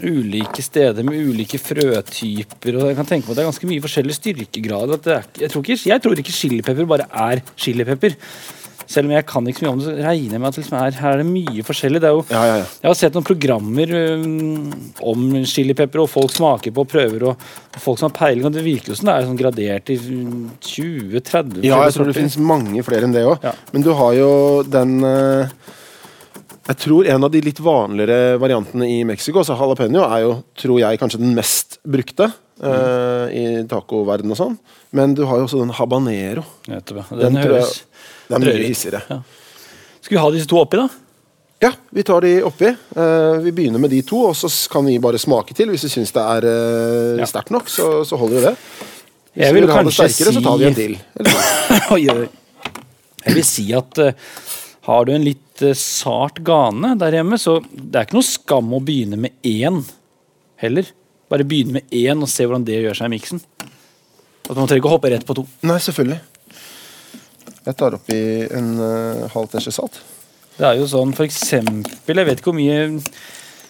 ulike steder med ulike frøtyper. og Jeg kan tenke meg at det er ganske mye forskjellige styrkegrader. At det er, ikke- jeg, tror ikke, jeg tror ikke chilipepper bare er chilipepper. Selv om jeg kan ikke så mye om det, så regner jeg med at det liksom er, her er det mye forskjellig. Det er jo, Ja, ja, ja. Jeg har sett noen programmer øhm, om chilipepper, og folk smaker på og prøver, og, og folk som har peiling, og det virker jo som det er sånn gradert i mm, 20-30 Ja, jeg tror det sorter. finnes mange flere enn det òg. Ja. Men du har jo den eh, Jeg tror en av de litt vanligere variantene i Mexico, altså jalapeño, er jo, tror jeg, kanskje den mest brukte eh, i tacoverden og sånn. Men du har jo også den habanero. Nettopp, ja. Den Den, tror jeg- høres Det er mye Drøyere. hissigere. Ja. Skal vi ha disse to oppi, da? Ja, vi tar de oppi. Eh, vi begynner med de to, og så s- kan vi bare smake til. Hvis vi syns det er eh, Ja. sterkt nok, så, så holder jo det. Hvis Jeg vi vil vil ha det kanskje sterkere, så tar vi en si- til. Eller, Oi, oi, oi. Jeg vil si at eh, har du en litt eh, sart gane der hjemme, så det er ikke noe skam å begynne med én heller. Bare begynne med én og se hvordan det gjør seg i miksen. At Man trenger ikke å hoppe rett på to. nei, selvfølgelig. Jeg tar oppi en eh, halv teskje salt. Det er jo sånn for eksempel, jeg vet ikke hvor mye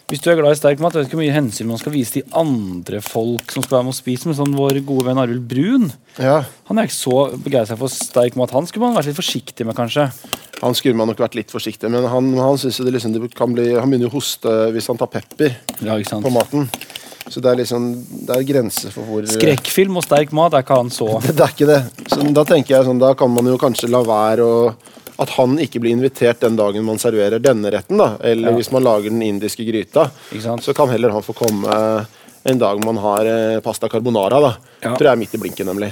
Hvis du er glad i sterk mat, jeg vet ikke hvor mye hensyn man skal vise til andre folk som skal være med og spise, men sånn vår gode venn Arvid Brun Ja, han er ikke så begeistra for sterk mat. Han skulle man vært litt forsiktig med, kanskje. Han skulle man nok vært litt forsiktig, men han, han synes jo det liksom, det kan bli Han begynner jo å hoste hvis han tar pepper Ja, ikke sant? på maten. Så det er liksom Det er grenser for hvor Skrekkfilm og sterk mat er ikke han så Det er ikke det. Så da tenker jeg sånn, da kan man jo kanskje la være å At han ikke blir invitert den dagen man serverer denne retten, da. Eller Ja. hvis man lager den indiske gryta, Ikke sant? så kan heller han få komme en dag man har eh, pasta carbonara, da. Ja. Tror jeg er midt i blinken, nemlig.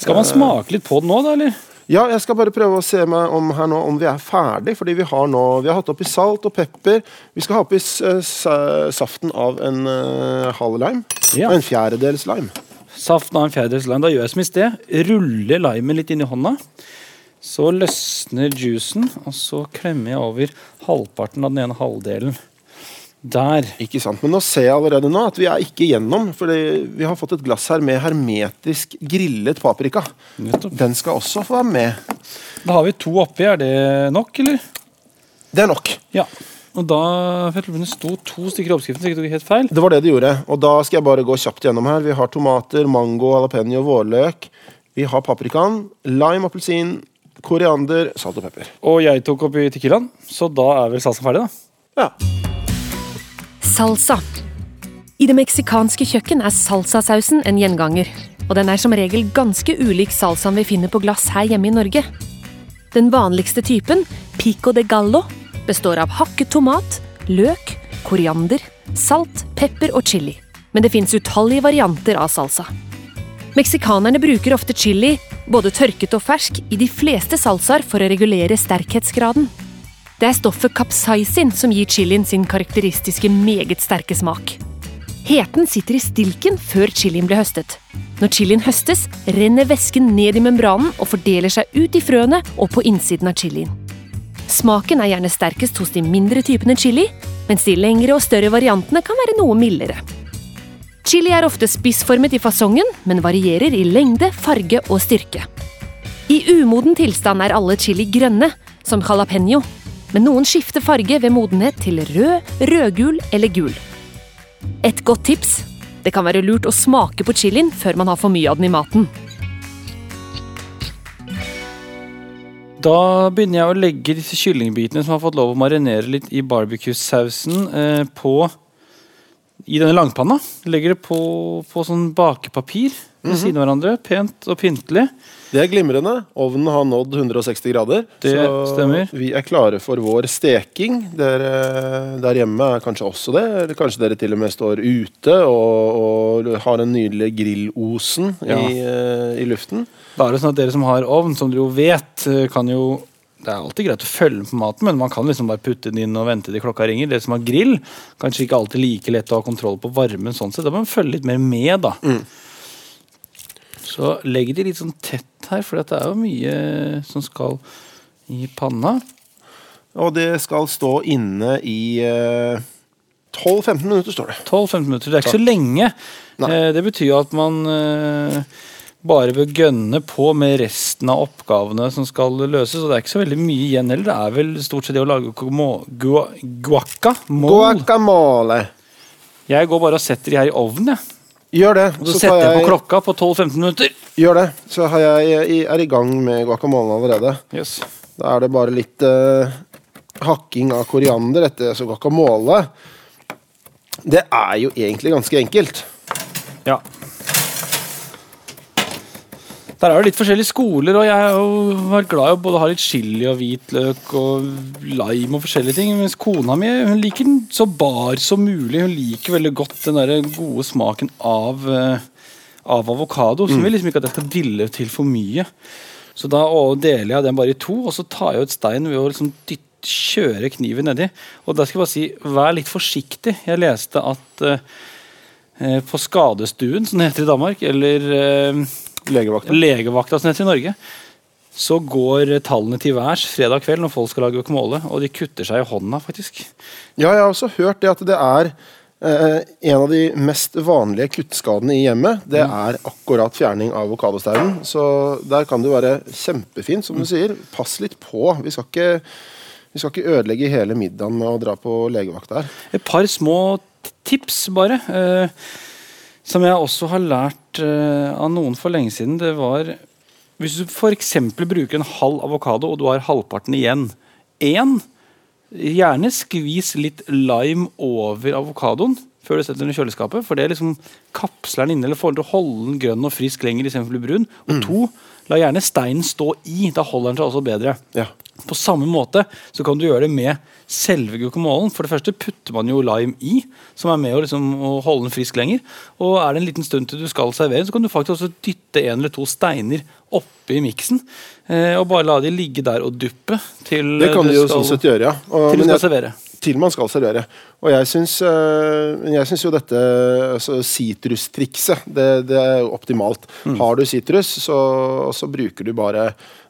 Skal man smake litt på den nå, da, eller? Ja, jeg skal bare prøve å se meg om her nå om vi er ferdig, fordi vi har nå Vi har hatt oppi salt og pepper. Vi skal ha oppi s- sa- saften av en eh, halv lime. Ja. Og en fjerdedels lime. Saften av en fjerdedels lime. Da gjør jeg som i sted. Ruller limen litt inn i hånda. Så løsner juicen, og så klemmer jeg over halvparten av den ene halvdelen. Der. Ikke sant, Men nå ser jeg allerede nå at vi er ikke gjennom, for vi har fått et glass her med hermetisk grillet paprika. Nettopp. Den skal også få være med. Da har vi to oppi. Er det nok, eller? Det er nok. Ja. Og da for jeg tror Det sto to stykker i oppskriften, så jeg tok helt feil. Det var det det gjorde. Og da skal jeg bare gå kjapt gjennom her. Vi har tomater, mango, jalapeño, vårløk. Vi har paprikaen, lime, appelsin, koriander, salt og pepper. Og jeg tok oppi Tequilaen, så da er vel salsaen ferdig, da. Ja. Salsa. I det meksikanske kjøkken er salsasausen en gjenganger, og den er som regel ganske ulik salsaen vi finner på glass her hjemme i Norge. Den vanligste typen, pico de gallo, består av hakket tomat, løk, koriander, salt, pepper og chili. Men det fins utallige varianter av salsa. Meksikanerne bruker ofte chili, både tørket og fersk, i de fleste salsaer for å regulere sterkhetsgraden. Det er stoffet capsaicin som gir chilien sin karakteristiske meget sterke smak. Heten sitter i stilken før chilien blir høstet. Når chilien høstes, renner væsken ned i membranen og fordeler seg ut i frøene og på innsiden av chilien. Smaken er gjerne sterkest hos de mindre typene chili, mens de lengre og større variantene kan være noe mildere. Chili er ofte spissformet i fasongen, men varierer i lengde, farge og styrke. I umoden tilstand er alle chili grønne, som jalapeño, men noen skifter farge ved modenhet til rød, rødgul eller gul. Et godt tips det kan være lurt å smake på chilien før man har for mye av den i maten. Da begynner jeg å legge disse kyllingbitene som har fått lov å marinere litt i barbecue-sausen, eh, på I denne langpanna. Legger det på, på sånn bakepapir. ved siden av hverandre. Pent og pyntelig. Det er glimrende. Ovnen har nådd 160 grader. Det stemmer. vi er klare for vår steking. Dere der hjemme er kanskje også det. Eller kanskje dere til og med står ute og, og har den nydelige grillosen Ja. i, eh, i luften. Da er det sånn at dere som har ovn, som dere jo vet, eh, kan jo det er alltid greit å følge med på maten, men man kan liksom bare putte den inn og vente til klokka ringer. Dere som har grill, kanskje ikke alltid like lett å ha kontroll på varmen. sånn sett. Da må man følge litt mer med, da. Så legger de litt sånn tett her, for det er jo mye som skal i panna. Og det skal stå inne i eh, 12-15 minutter, står det. 12-15 minutter. Det er ikke så lenge. Nei. Eh, Det betyr jo at man eh, bare bør gønne på med resten av oppgavene som skal løses. Og det er ikke så veldig mye igjen heller. Det er vel stort sett det å lage guacamole. Gua, guacamole. Guacamole! jeg går bare og setter de her i ovnen, jeg. Gjør det. Og så, tar setter jeg på klokka på 12-15 minutter. Gjør det. Så har jeg, jeg er i gang med guacamolen allerede. Yes. Da er det bare litt eh, hakking av koriander etter så guacamole. Det er jo egentlig ganske enkelt. Ja. Der er det litt forskjellige skoler, og jeg har jo vært glad i å både ha litt chili og hvitløk og lime og forskjellige ting. Mens kona mi hun liker den så bar som mulig. Hun liker veldig godt den der gode smaken av, eh, av avokado. Så hun vil liksom ikke at jeg skal dille til for mye. Så da og deler jeg den bare i to, og så tar jeg ut steinen ved å liksom dytte, kjøre kniven nedi. Og da skal jeg bare si vær litt forsiktig. Jeg leste at eh, eh, på skadestuen, som det heter i Danmark, eller eh, Legevakta. legevakta, som det heter i Norge, så går eh, tallene til værs fredag kveld når folk skal lage guacamole, og de kutter seg i hånda, faktisk. Ja, jeg har også hørt det at det er eh, en av de mest vanlige kuttskadene i hjemmet. Det er akkurat fjerning av avokadostauden. Så der kan du være kjempefin, som du sier. Pass litt på. Vi skal ikke, vi skal ikke ødelegge hele middagen med å dra på legevakta her. Et par små t- tips, bare. eh, som jeg også har lært eh, av noen for lenge siden. Det var Hvis du f.eks. bruker en halv avokado, og du har halvparten igjen. Én. Gjerne skvis litt lime over avokadoen før du setter den i kjøleskapet. For det liksom kapsler den inne, eller får den til å holde den grønn og frisk lenger istedenfor å bli brun. Og to, la gjerne steinen stå i. Da holder den seg også bedre. Ja. På samme måte så kan du gjøre det med selve guacamolen. For det første putter man jo lime i, som er med å, liksom, å holde den frisk lenger. Og er det en liten stund til du skal servere, så kan du faktisk også dytte en eller to steiner oppi miksen. Eh, og bare la de ligge der og duppe til Det kan eh, du jo sånn sett gjøre, ja. Og, til du men skal jeg, servere. til man skal servere. Og jeg syns, øh, men jeg syns jo dette altså, sitrustrikset, det, det er jo optimalt. Mm. Har du sitrus, så, så bruker du bare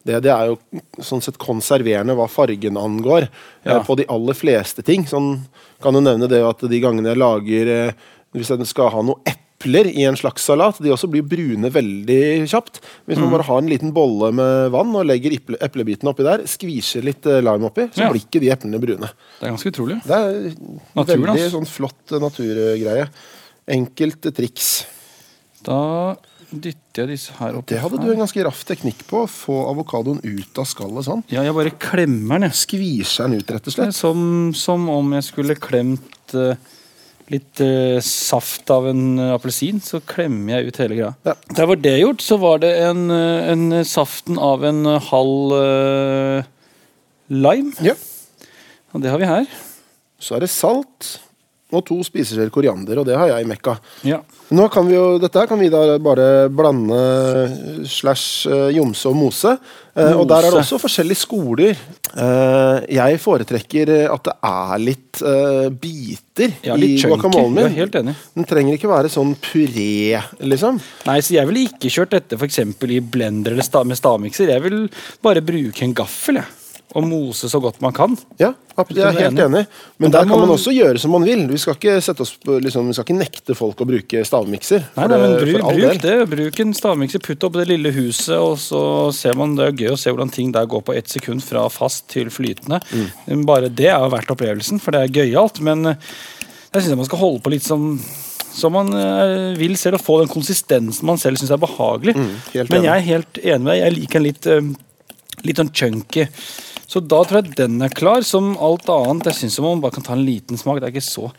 det. Det er jo sånn sett konserverende hva fargen angår, eh, Ja. på de aller fleste ting. Sånn, kan du nevne det at de gangene jeg lager eh, Hvis jeg skal ha noe epler i en slags salat, de også blir brune veldig kjapt. Hvis Mm. man bare har en liten bolle med vann og legger eple, eplebiten oppi der, skviser litt eh, lime oppi, så Ja. blir ikke de eplene brune. Det er ganske utrolig. Det er Naturen, veldig ass. sånn flott eh, naturgreie. Enkelte triks. Da dytter jeg disse her opp. Det hadde du en ganske raff teknikk på. å Få avokadoen ut av skallet sånn. Ja, jeg bare klemmer den, jeg. Skviser den ut, rett og Det er slett. Som, som om jeg skulle klemt eh, litt eh, saft av en eh, appelsin, så klemmer jeg ut hele greia. Ja. Der var det gjort, så var det en, eh, en saften av en eh, halv eh, lime. Ja. Og det har vi her. Så er det salt og to spiseskjeer koriander, og det har jeg mekka. Ja. Nå kan vi jo, Dette her kan vi da bare blande eh, slash eh, jomse og mose. Eh, Og der er det Mose. også forskjellige skoler. Eh, Jeg foretrekker eh, at det er litt eh, biter Ja, i litt chunky. guacamolen min. Ja, helt enig. Den trenger ikke være sånn puré, liksom. Nei, så jeg ville ikke kjørt dette for eksempel i blender eller sta med stavmikser. Jeg vil bare bruke en gaffel, jeg. Og mose så godt man kan. Ja, ab- jeg er du er helt enig? enig. Men Men da der kan må- man også gjøre som man vil. Vi skal ikke, sette oss på, liksom, vi skal ikke nekte folk å bruke stavmikser. Nei, for nei, men det- bruk, for all bruk del. det. Bruk en stavmikser, putt opp det lille huset, og så ser man Det er gøy å se hvordan ting der går på ett sekund fra fast til flytende. Mm. Bare det er jo verdt opplevelsen, for det er gøyalt. Men eh, jeg syns man skal holde på litt som som man eh, vil selv, og få den konsistensen man selv syns er behagelig. Mm, helt men enig. jeg er helt enig med deg. Jeg liker en litt, eh, litt sånn chunky. Så da tror jeg den er klar, som alt annet. Jeg syns man bare kan ta en liten smak. Det er ikke så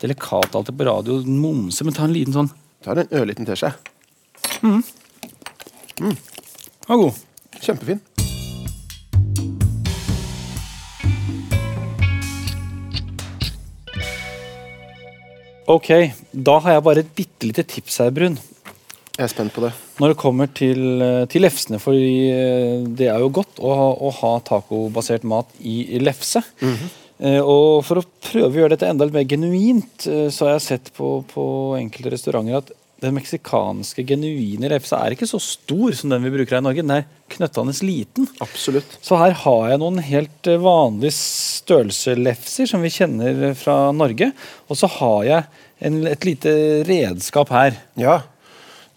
delikat alltid på radio, momse, men ta en liten sånn Ta en ørliten teskje. Den var god. Kjempefin. Ok, da har jeg bare et bitte lite tips her, Brun. Jeg er spent på det. Når det kommer til, eh, til lefsene, for det er jo godt å ha, å ha tacobasert mat i lefse. Eh, Og for å prøve å gjøre dette enda litt mer genuint, eh, så har jeg sett på, på enkelte restauranter at den meksikanske genuine lefsa er ikke så stor som den vi bruker her i Norge. Den er knøttende liten. Absolutt. Så her har jeg noen helt eh, vanlige størrelselefser som vi kjenner eh, fra Norge. Og så har jeg en, et lite redskap her. Ja.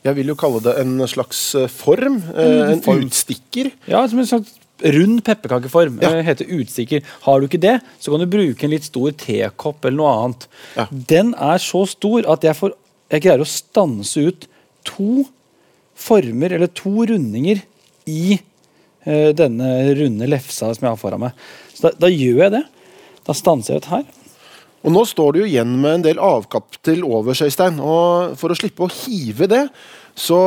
Jeg vil jo kalle det en slags eh, form. eh, En utstikker. Ja, som en slags rund pepperkakeform. Ja. eh, Heter utstikker. Har du ikke det, så kan du bruke en litt stor tekopp eller noe annet. Ja. Den er så stor at jeg, får, jeg greier å stanse ut to former, eller to rundinger, i eh, denne runde lefsa som jeg har foran meg. Så da, da gjør jeg det. Da stanser jeg ut her. Og nå står du jo igjen med en del avkapp til overs, Øystein. Og for å slippe å hive det, så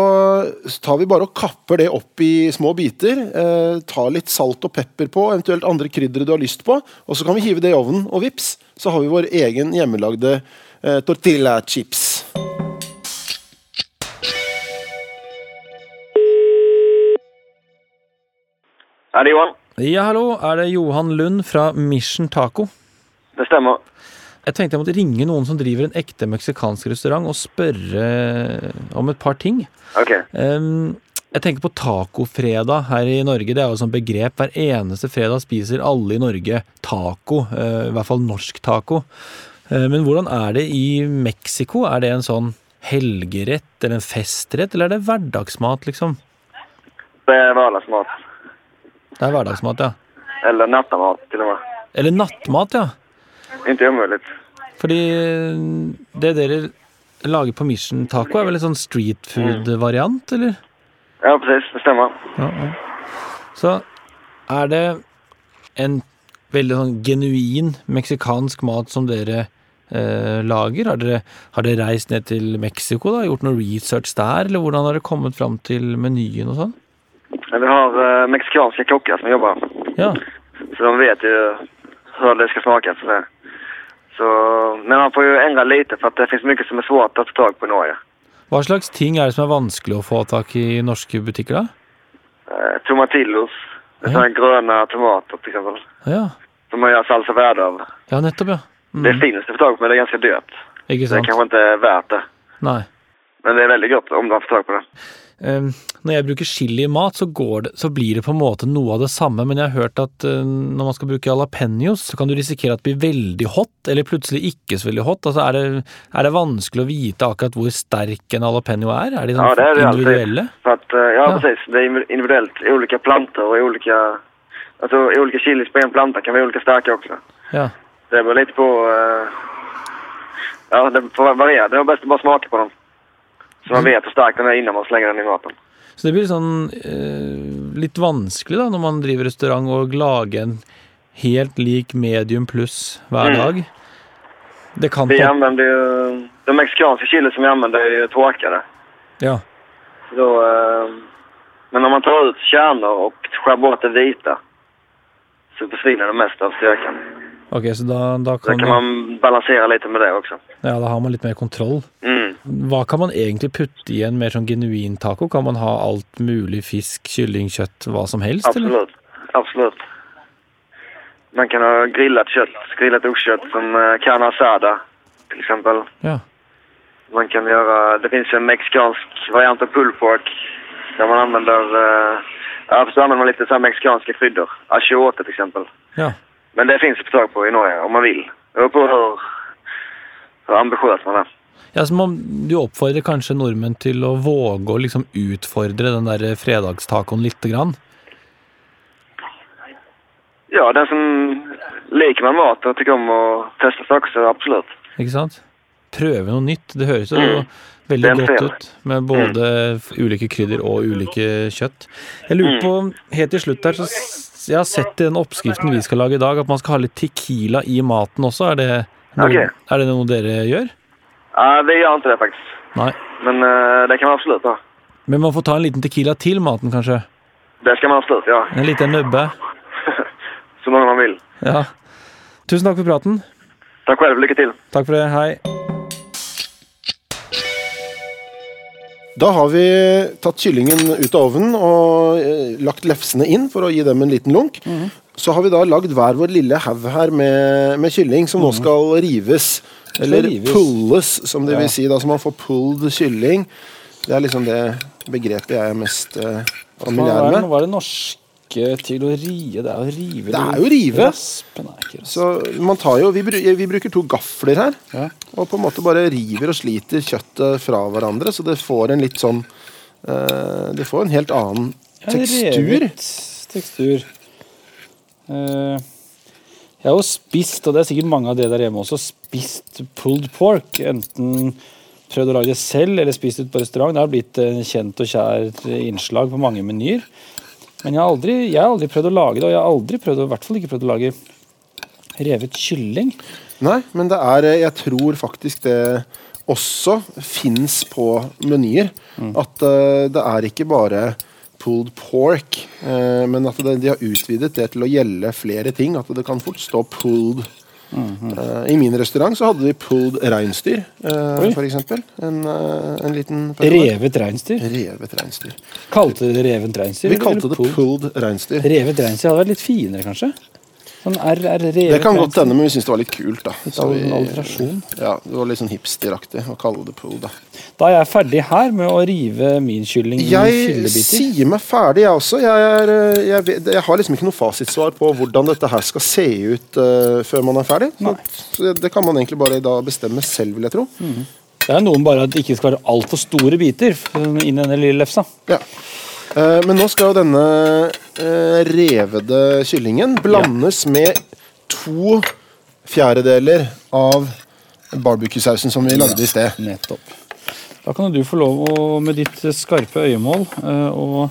tar vi bare og kapper det opp i små biter. Eh, tar litt salt og pepper på, eventuelt andre kryddere du har lyst på. Og så kan vi hive det i ovnen, og vips, så har vi vår egen hjemmelagde eh, tortilla chips. Er det Johan? Ja, hallo. Er det Johan Lund fra Mission Taco? Det stemmer. Jeg tenkte jeg måtte ringe noen som driver en ekte meksikansk restaurant og spørre eh, om et par ting. Ok. Ehm, jeg tenker på tacofredag her i Norge. Det er jo et sånt begrep. Hver eneste fredag spiser alle i Norge taco. eh, I hvert fall norsk taco. Eh, men hvordan er det i Mexico? Er det en sånn helgerett eller en festrett, eller er det hverdagsmat, liksom? Det er hverdagsmat. Det er hverdagsmat, ja. Eller nattamat, til og med. Eller nattmat, ja. Ikke umulig. Fordi det dere lager på Mission Taco, er vel en sånn street food-variant, eller? Ja, precis. Det stemmer. Ja, ja. Så er det en veldig sånn genuin meksikansk mat som dere eh, lager? Har dere, har dere reist ned til Mexico da, gjort noe research der, eller hvordan har dere kommet fram til menyen og sånn? Vi har eh, mexikanska kockar som jobbar. Ja, Så de vet ju hur det ska smaka. Så det. Så, men man får ju ändra lite för att det finns mycket som är svårt att få tag på i Norge. Hva slags ting er det som er vanskelig å få tak i i norske butikker da? Eh, tomatillos. Det är Ja. såna gröna tomater till exempel. Ja, Som man gör salsa värd av. ja nettopp ja. Det finns det få tag på men det är ganska dyrt. Ikke Så det sant? kanske inte är värt det. Nei. Men det är väldigt gott om de får tag på det. Eh, når jeg bruker chili i mat, så, går det, så blir det på en måte noe av det samme, men jeg har hørt at eh, når man skal bruke jalapeños, så kan du risikere at det blir veldig hot, eller plutselig ikke så veldig hot. Altså, er det, er det vanskelig å vite akkurat hvor sterk en jalapeño er? Er de sånn Ja, det är det ju individuelle? alltid. För att, eh, ja, Ja. precis. Det är inv- individuellt. Olika plantor och olika... Alltså olika chilis på en planta kan vara olika starka också. Ja. Det beror lite på... eh, ja, det får variera. Det är bäst att bara smaka på dem. Så man vet hur stark den är innan man slänger den i maten. Så det blir sånn eh, litt vanskelig da, når man driver restaurant og lager en helt lik medium pluss hver dag. Det kan Vi ta använder ju... De mexikanska chilis som vi använder är ju torkade. Ja. Så Då, eh, men om man tar ut kärnor och skär bort det vita så försvinner det mesta av styrkan. Ok, så da, da Så kan, kan man... man balansera lite med det också. Ja, da har man litt mer kontroll. Mm. Hva kan man egentlig putte i en mer sånn genuin taco? Kan man ha alt mulig fisk, kylling, kjøtt, hva som helst? Eller? Absolut. Absolut. Man kan ha grillat kött, grillat oxkött som eh, carne asada till exempel. Ja. Man kan göra, det finns ju en mexikansk variant av pulled pork där man använder, eh, ja, så använder man lite så här mexikanska kryddor. Achiote till exempel. ja. Men det finns det på tag på i Norge om man vill. Det beror på hur, hur ambitiös man är. ja så man, du oppfordrer kanskje nordmenn til å våge å liksom utfordre den der fredagstacoen lite grann? Ja, den som liker med mat och tycker om att testa saker så absolut. Ikke sant? Prøve noe nytt. Det høres jo veldig Mm. Den godt prøver. ut med både f- ulike krydder og ulike kjøtt. Jeg lurer på, Mm. helt til slutt her, så s- jeg har sett i den oppskriften vi skal lage i dag, at man skal ha litt tequila i maten også. Er det noe, Ok. er det noe dere gjør? Ja, vi gör inte det faktiskt. Nei. Men eh, det kan man absolut ha. Men man får ta en liten tequila til maten, kanskje? Det skal man absolutt, ja. En liten nubbe? Så mange man vil. Ja. Tusen takk for praten. Takk selv. Lykke til. Takk for det. Hei. Da har vi tatt kyllingen ut av ovnen og eh, lagt lefsene inn for å gi dem en liten lunk. Så har vi da lagd hver vår lille haug her med, med kylling som nå Mhm. skal rives. Eller rives. pulles, som det vil si. da, Så man får pulled kylling. Det er liksom det begrepet jeg er mest eh, Hva er, familiær det, med. hva er det norske til å rie? Det er jo rive. Det er jo rive. Raspen er ikke rasp. Så man tar jo, vi, bru- vi bruker to gafler her, Ja. og på en måte bare river og sliter kjøttet fra hverandre. Så det får en litt sånn eh, Det får en helt annen Ja, det er tekstur. revet Tekstur. Eh, jeg har jo spist, og det er sikkert mange av dere der hjemme også, spist pulled pork. Enten prøvd å lage det selv eller spist ut på restaurant. Det har blitt eh, kjent og kjært innslag på mange menyer. Men jeg har, aldri, jeg har aldri prøvd å lage det, og jeg har aldri prøvd, å- i hvert fall ikke prøvd å lage revet kylling. Nei, men det er eh, Jeg tror faktisk det også fins på menyer. At eh, det er ikke bare pulled pork, eh, men at det, de har utvidet det til å gjelde flere ting. At det kan fort stå pulled Eh, I min restaurant så hadde vi pulled reinsdyr, uh, Oi. for eksempel. En, eh, en liten periode. Revet reinsdyr. Revet reinsdyr. Kalte dere det revent reinsdyr? Vi eller kalte det pulled? pulled reinsdyr. Revet reinsdyr hadde vært litt finere, kanskje? Sånn R er revet Det kan godt reinsdyr. hende, men vi syntes det var litt kult. da. Så sånn vi- alliterasjon. Ja, Det var litt sånn hipsteraktig å kalle det pulled. da. Da er jeg ferdig her med å rive min kylling i Jeg fillebiter. sier meg ferdig, jeg også. Jeg, er, eh, jeg, vet- jeg har liksom ikke noe fasitsvar på hvordan dette her skal se ut eh, før man er ferdig. Så, så det kan man egentlig bare da bestemme selv, vil jeg tro. Det er noen bare at det ikke skal være altfor store biter inn i denne lille lefsa. Ja. Eh, men nå skal jo denne eh, revede kyllingen blandes med to fjerdedeler av barbecue-sausen som vi lagde i sted. Nettopp. Da kan jo du få lov å, med ditt skarpe øyemål, eh, å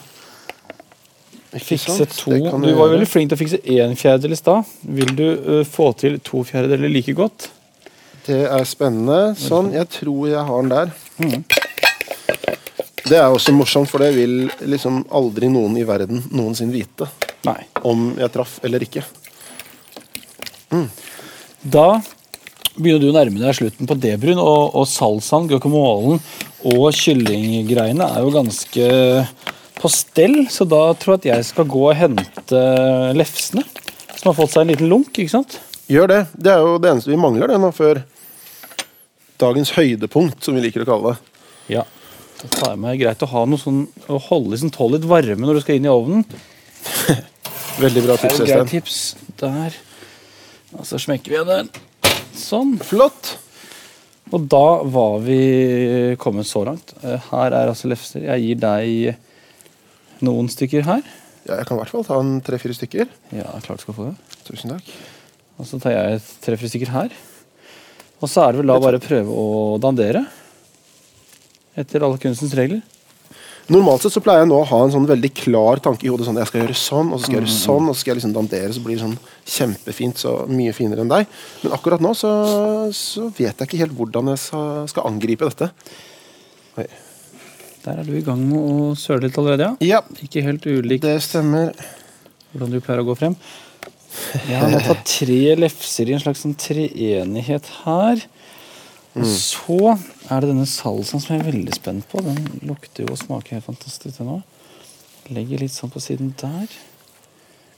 Ikke fikse sant? to Det kan Du var jo gjøre. veldig flink til å fikse én fjerdedel i stad. Vil du eh, få til to fjerdedeler like godt? Det er spennende. Sånn, jeg tror jeg har den der. Mm. Det er også morsomt, for det vil liksom aldri noen i verden noensinne vite Nei. om jeg traff eller ikke. Da begynner du å nærme deg slutten på debrun, og, og salsaen, guacamolen og kyllinggreiene er jo ganske på stell, så da tror jeg at jeg skal gå og hente lefsene, som har fått seg en liten lunk, ikke sant? Gjør det. Det er jo det eneste vi mangler det nå før dagens høydepunkt, som vi liker å kalle det. Ja. Da tar jeg meg greit å ha noe sånn, å holde liksom tål litt varme når du skal inn i ovnen. Veldig bra Det er tips, jo greit Øystein. tips. Der. Og så smekker vi igjen den. Sånn. Flott. Og da var vi kommet så langt. Eh, Her er altså lefser. Jeg gir deg noen stykker her. Ja, jeg kan i hvert fall ta en tre-fire stykker. Ja, klart du skal få det. Tusen takk. Og så tar jeg et tre-fire stykker her. Og så er det vel da bare å prøve å dandere. Etter alle kunstens regler. Normalt sett så pleier jeg nå å ha en sånn veldig klar tanke i hodet. sånn, Jeg skal gjøre sånn, og så skal jeg gjøre sånn, og så skal jeg liksom dandere. Så blir det sånn kjempefint, så mye finere enn deg. Men akkurat nå så, så vet jeg ikke helt hvordan jeg sa- skal angripe dette. Oi. Der er du i gang med å søle litt allerede, ja. Ja, Ikke helt ulikt det stemmer. hvordan du pleier å gå frem. Jeg har nå tatt tre lefser i en slags sånn treenighet her. Mm. Og så er det denne salsaen som jeg er veldig spent på. Den lukter jo og smaker helt fantastisk den òg. Legger litt sånn på siden der.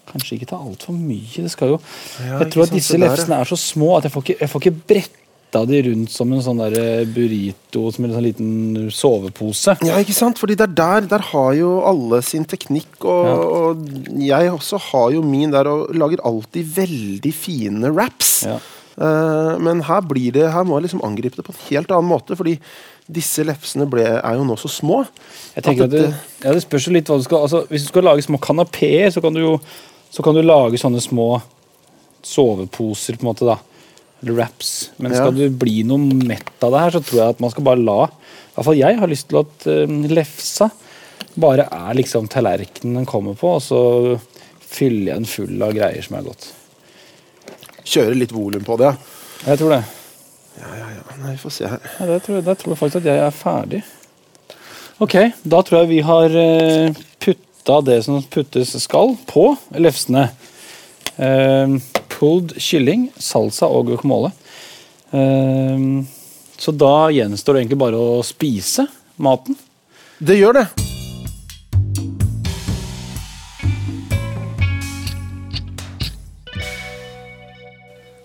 Kanskje ikke ta altfor mye. Det skal jo Ja, Jeg ikke tror at sant, disse det der, ja. lefsene er så små at jeg får ikke, jeg får ikke bretta de rundt som en sånn der eh, burrito som en sånn liten sovepose. Ja, ikke sant? Fordi det er der, der har jo alle sin teknikk, og, og jeg også har jo min der, og lager alltid veldig fine raps. Ja. Eh, men her blir det, her må jeg liksom angripe det på en helt annen måte, fordi disse lefsene ble, er jo nå så små. Jeg tenker at det, ja, det spørs jo litt hva du skal altså, Hvis du skal lage små kanapeer, så kan du jo så kan du lage sånne små soveposer, på en måte, da. Eller wraps. Men Ja. skal du bli noe mett av det her, så tror jeg at man skal bare la I hvert fall jeg har lyst til at eh, lefsa bare er liksom tallerkenen den kommer på, og så fyller jeg den full av greier som er godt. Kjøre litt volum på det, ja. Jeg tror det. ja, ja, ja. Nei, vi får se her. Ja, det tror jeg, der tror jeg faktisk at jeg er ferdig. Ok, da tror jeg vi har eh, putta det som puttes skal, på lefsene. Eh, pulled kylling, salsa og guacamole. Eh, så da gjenstår det egentlig bare å spise maten. Det gjør det.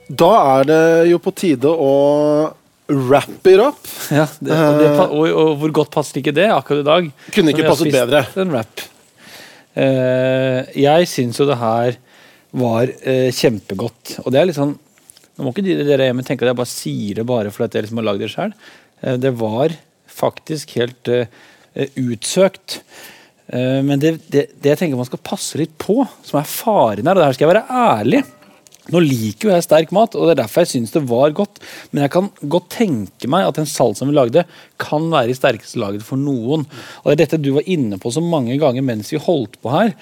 Da er det jo på tide å wrap it up. det, og, det, pa- og, og hvor godt passet ikke det akkurat i dag? Kunne ikke Når vi har passet spist bedre. En wrap. Eh, jeg syns jo det her var eh, kjempegodt. Og det er litt sånn Nå må ikke de dere hjemme tenke at jeg bare sier det bare fordi at jeg liksom har lagd det sjøl. det var faktisk helt eh, eh, utsøkt. Eh, men det, det, det jeg tenker man skal passe litt på, som er faren her, og det her skal jeg være ærlig Nå liker jo jeg sterk mat, og det er derfor jeg syns det var godt. Men jeg kan godt tenke meg at den salsaen vi lagde, kan være i sterkeste laget for noen. Og det er dette du var inne på så mange ganger mens vi holdt på her.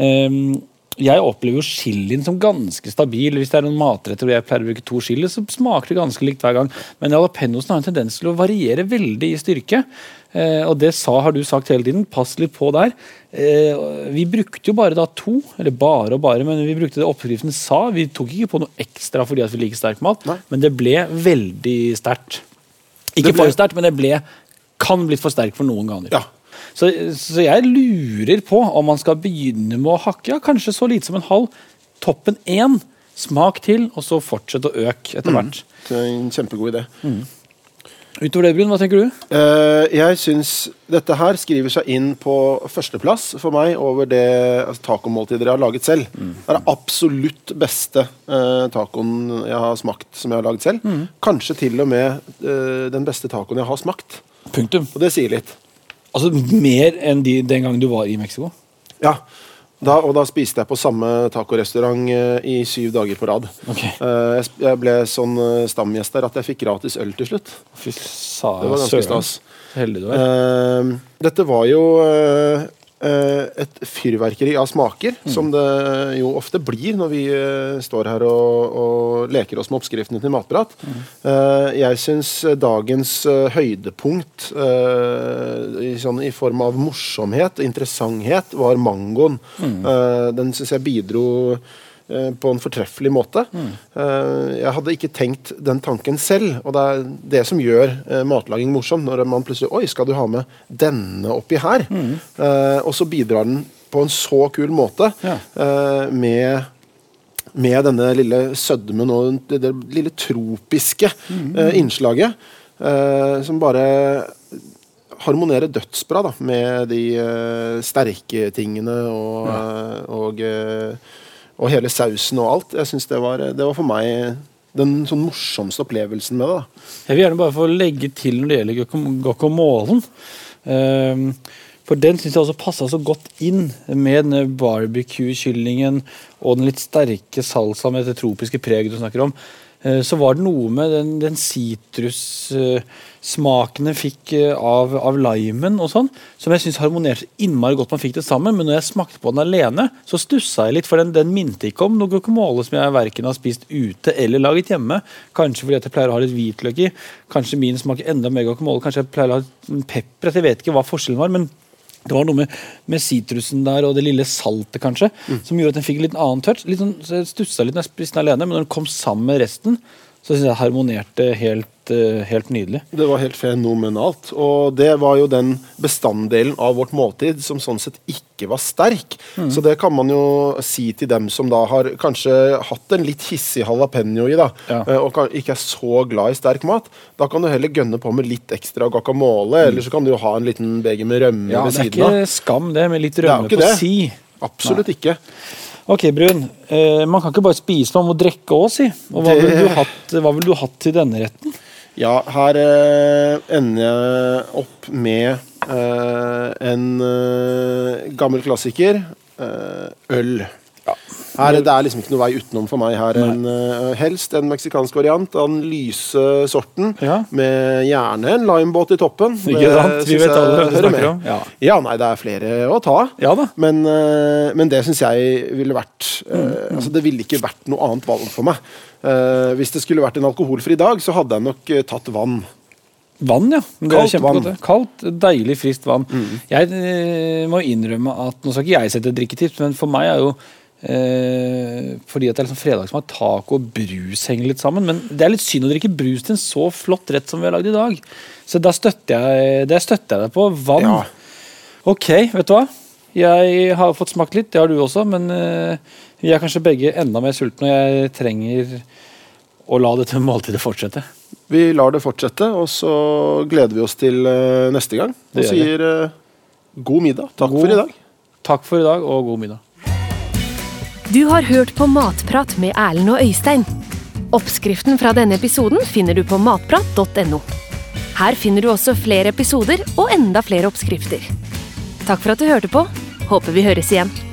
Ehm, jeg opplever jo chilien som ganske stabil. Hvis det er noen matretter hvor jeg pleier å bruke to chili, så smaker det ganske likt hver gang. Men jalapeñosen har en tendens til å variere veldig i styrke. Eh, og det sa, har du sagt hele tiden, pass litt på der. Eh, og vi brukte jo bare da to, eller bare og bare, men vi brukte det oppskriften sa. Vi tok ikke på noe ekstra fordi at vi liker sterk mat, Nei. men det ble veldig sterkt. Ikke Det ble- for sterkt, men det ble, kan blitt for sterkt for noen ganger. Ja. Så, så jeg lurer på om man skal begynne med å hakke ja, kanskje så lite som en halv. Toppen én, smak til, og så fortsett å øke Mm. etter hvert. Det er en kjempegod idé. Utover det, Brun, hva tenker du? Eh, jeg syns dette her skriver seg inn på førsteplass for meg over det altså, tacomåltidet jeg har laget selv. Det er det absolutt beste eh, tacoen jeg har smakt som jeg har laget selv. Kanskje til og med eh, den beste tacoen jeg har smakt. Punktum. Og det sier litt. Altså mer enn de, den gangen du var i Mexico. Ja. Da, og da spiste jeg på samme tacorestaurant eh, i syv dager på rad. Ok. Eh, jeg, sp- jeg ble sånn eh, stamgjest der at jeg fikk gratis øl til slutt. Fy sa Det var ganske stas. Så heldig du er. Eh, dette var jo eh, eh, et fyrverkeri av smaker, som det jo ofte blir når vi eh, står her og, og leker oss med oppskriftene til matprat. Eh, jeg syns dagens eh, høydepunkt eh, i, sånn, i form av morsomhet og interessanthet var mangoen. Eh, den syns jeg bidro eh, på en fortreffelig måte. Eh, Jeg hadde ikke tenkt den tanken selv, og det er det som gjør eh, matlaging morsom. Når man plutselig Oi, skal du ha med denne oppi her? Eh, Og så bidrar den på en så kul måte Ja. eh, med med denne lille sødmen og det, det lille tropiske eh, innslaget, eh, som bare harmonerer dødsbra da, med de eh, sterke tingene og, eh, og, eh, og hele sausen og alt. Jeg synes det, var, eh, det var for meg den sånn morsomste opplevelsen med det. da. Jeg vil gjerne bare få legge til når det gjelder guacam- guacamolen. Ehm, for den syns jeg også passa så godt inn med denne barbecue-kyllingen og den litt sterke salsa med det tropiske preget du snakker om. Eh, Så var det noe med den, den eh, sitrussmaken den fikk eh, av, av limen og sånn, som jeg syns harmonerte innmari godt. Man fikk det sammen, men når jeg smakte på den alene, så stussa jeg litt, for den, den minte ikke om noe guacamole som jeg verken har spist ute eller laget hjemme. Kanskje fordi at jeg pleier å ha litt hvitløk i. Kanskje min smaker enda mer guacamole. Kanskje jeg pleier å ha litt pepper. Altså, Jeg vet ikke hva forskjellen var, men det var noe med- med sitrusen der og det lille saltet kanskje, som gjorde at den fikk en litt annen touch. Litt sånn, så jeg stussa litt når jeg spiste den alene, men når den kom sammen med resten, så syns jeg det harmonerte helt, eh, helt nydelig. Det var helt fenomenalt. Og det var jo den bestanddelen av vårt måltid som sånn sett ikke var sterk. Mm. Så det kan man jo si til dem som da har kanskje hatt en litt hissig jalapeño i, da, Ja. eh, og kan, ikke er så glad i sterk mat. Da kan du heller gønne på med litt ekstra guacamole, eller så kan du jo ha en liten beger med rømme Mm. Ja, ved det er siden av. ikke skam, det, med litt er jo rømme ikke på det. si. Absolutt ikke. Ok, Brun. Eh, man kan ikke bare spise, man må drikke òg, si. Og hva Det- ville du, hatt- hva ville du hatt til denne retten? Ja, her eh, ender jeg opp med eh, en eh, gammel klassiker. Eh, øl. Her, det er liksom ikke noe vei utenom for meg her. En, eh, helst en meksikansk variant av den lyse sorten. Ja. Med gjerne en limebåt i toppen. Ikke sant? Vi synes jeg vet alle hvem du hører snakker med. om. Ja. Ja, nei, det er flere å ta. Ja da. Men, eh, men det syns jeg ville vært eh, Altså, det ville ikke vært noe annet valg for meg. Eh, hvis det skulle vært en alkoholfri dag, så hadde jeg nok eh, tatt vann. Vann, ja. Men Det er Kaldt kjempegodt, vann. Mm. det. Kaldt, deilig, friskt vann. Jeg eh, må innrømme at Nå skal ikke jeg sette drikketips, men for meg er jo eh, fordi at det er liksom fredagsmat, taco og brus henger litt sammen. Men det er litt synd å drikke brus til en så flott rett som vi har lagd i dag. Så da støtter jeg, det støtter jeg deg på. Vann. Ja. Ok, vet du hva? Jeg har fått smakt litt, det har du også, men eh, vi er kanskje begge enda mer sultne, og jeg trenger å la dette måltidet fortsette. Vi lar det fortsette, og så gleder vi oss til eh, neste gang. Og Det gjør vi. sier eh, god middag. Takk God- for i dag. Takk for i dag, og god middag. Du har hørt på Matprat med Erlend og Øystein. Oppskriften fra denne episoden finner du på matprat.no. Her finner du også flere episoder og enda flere oppskrifter. Takk for at du hørte på. Håper vi høres igjen.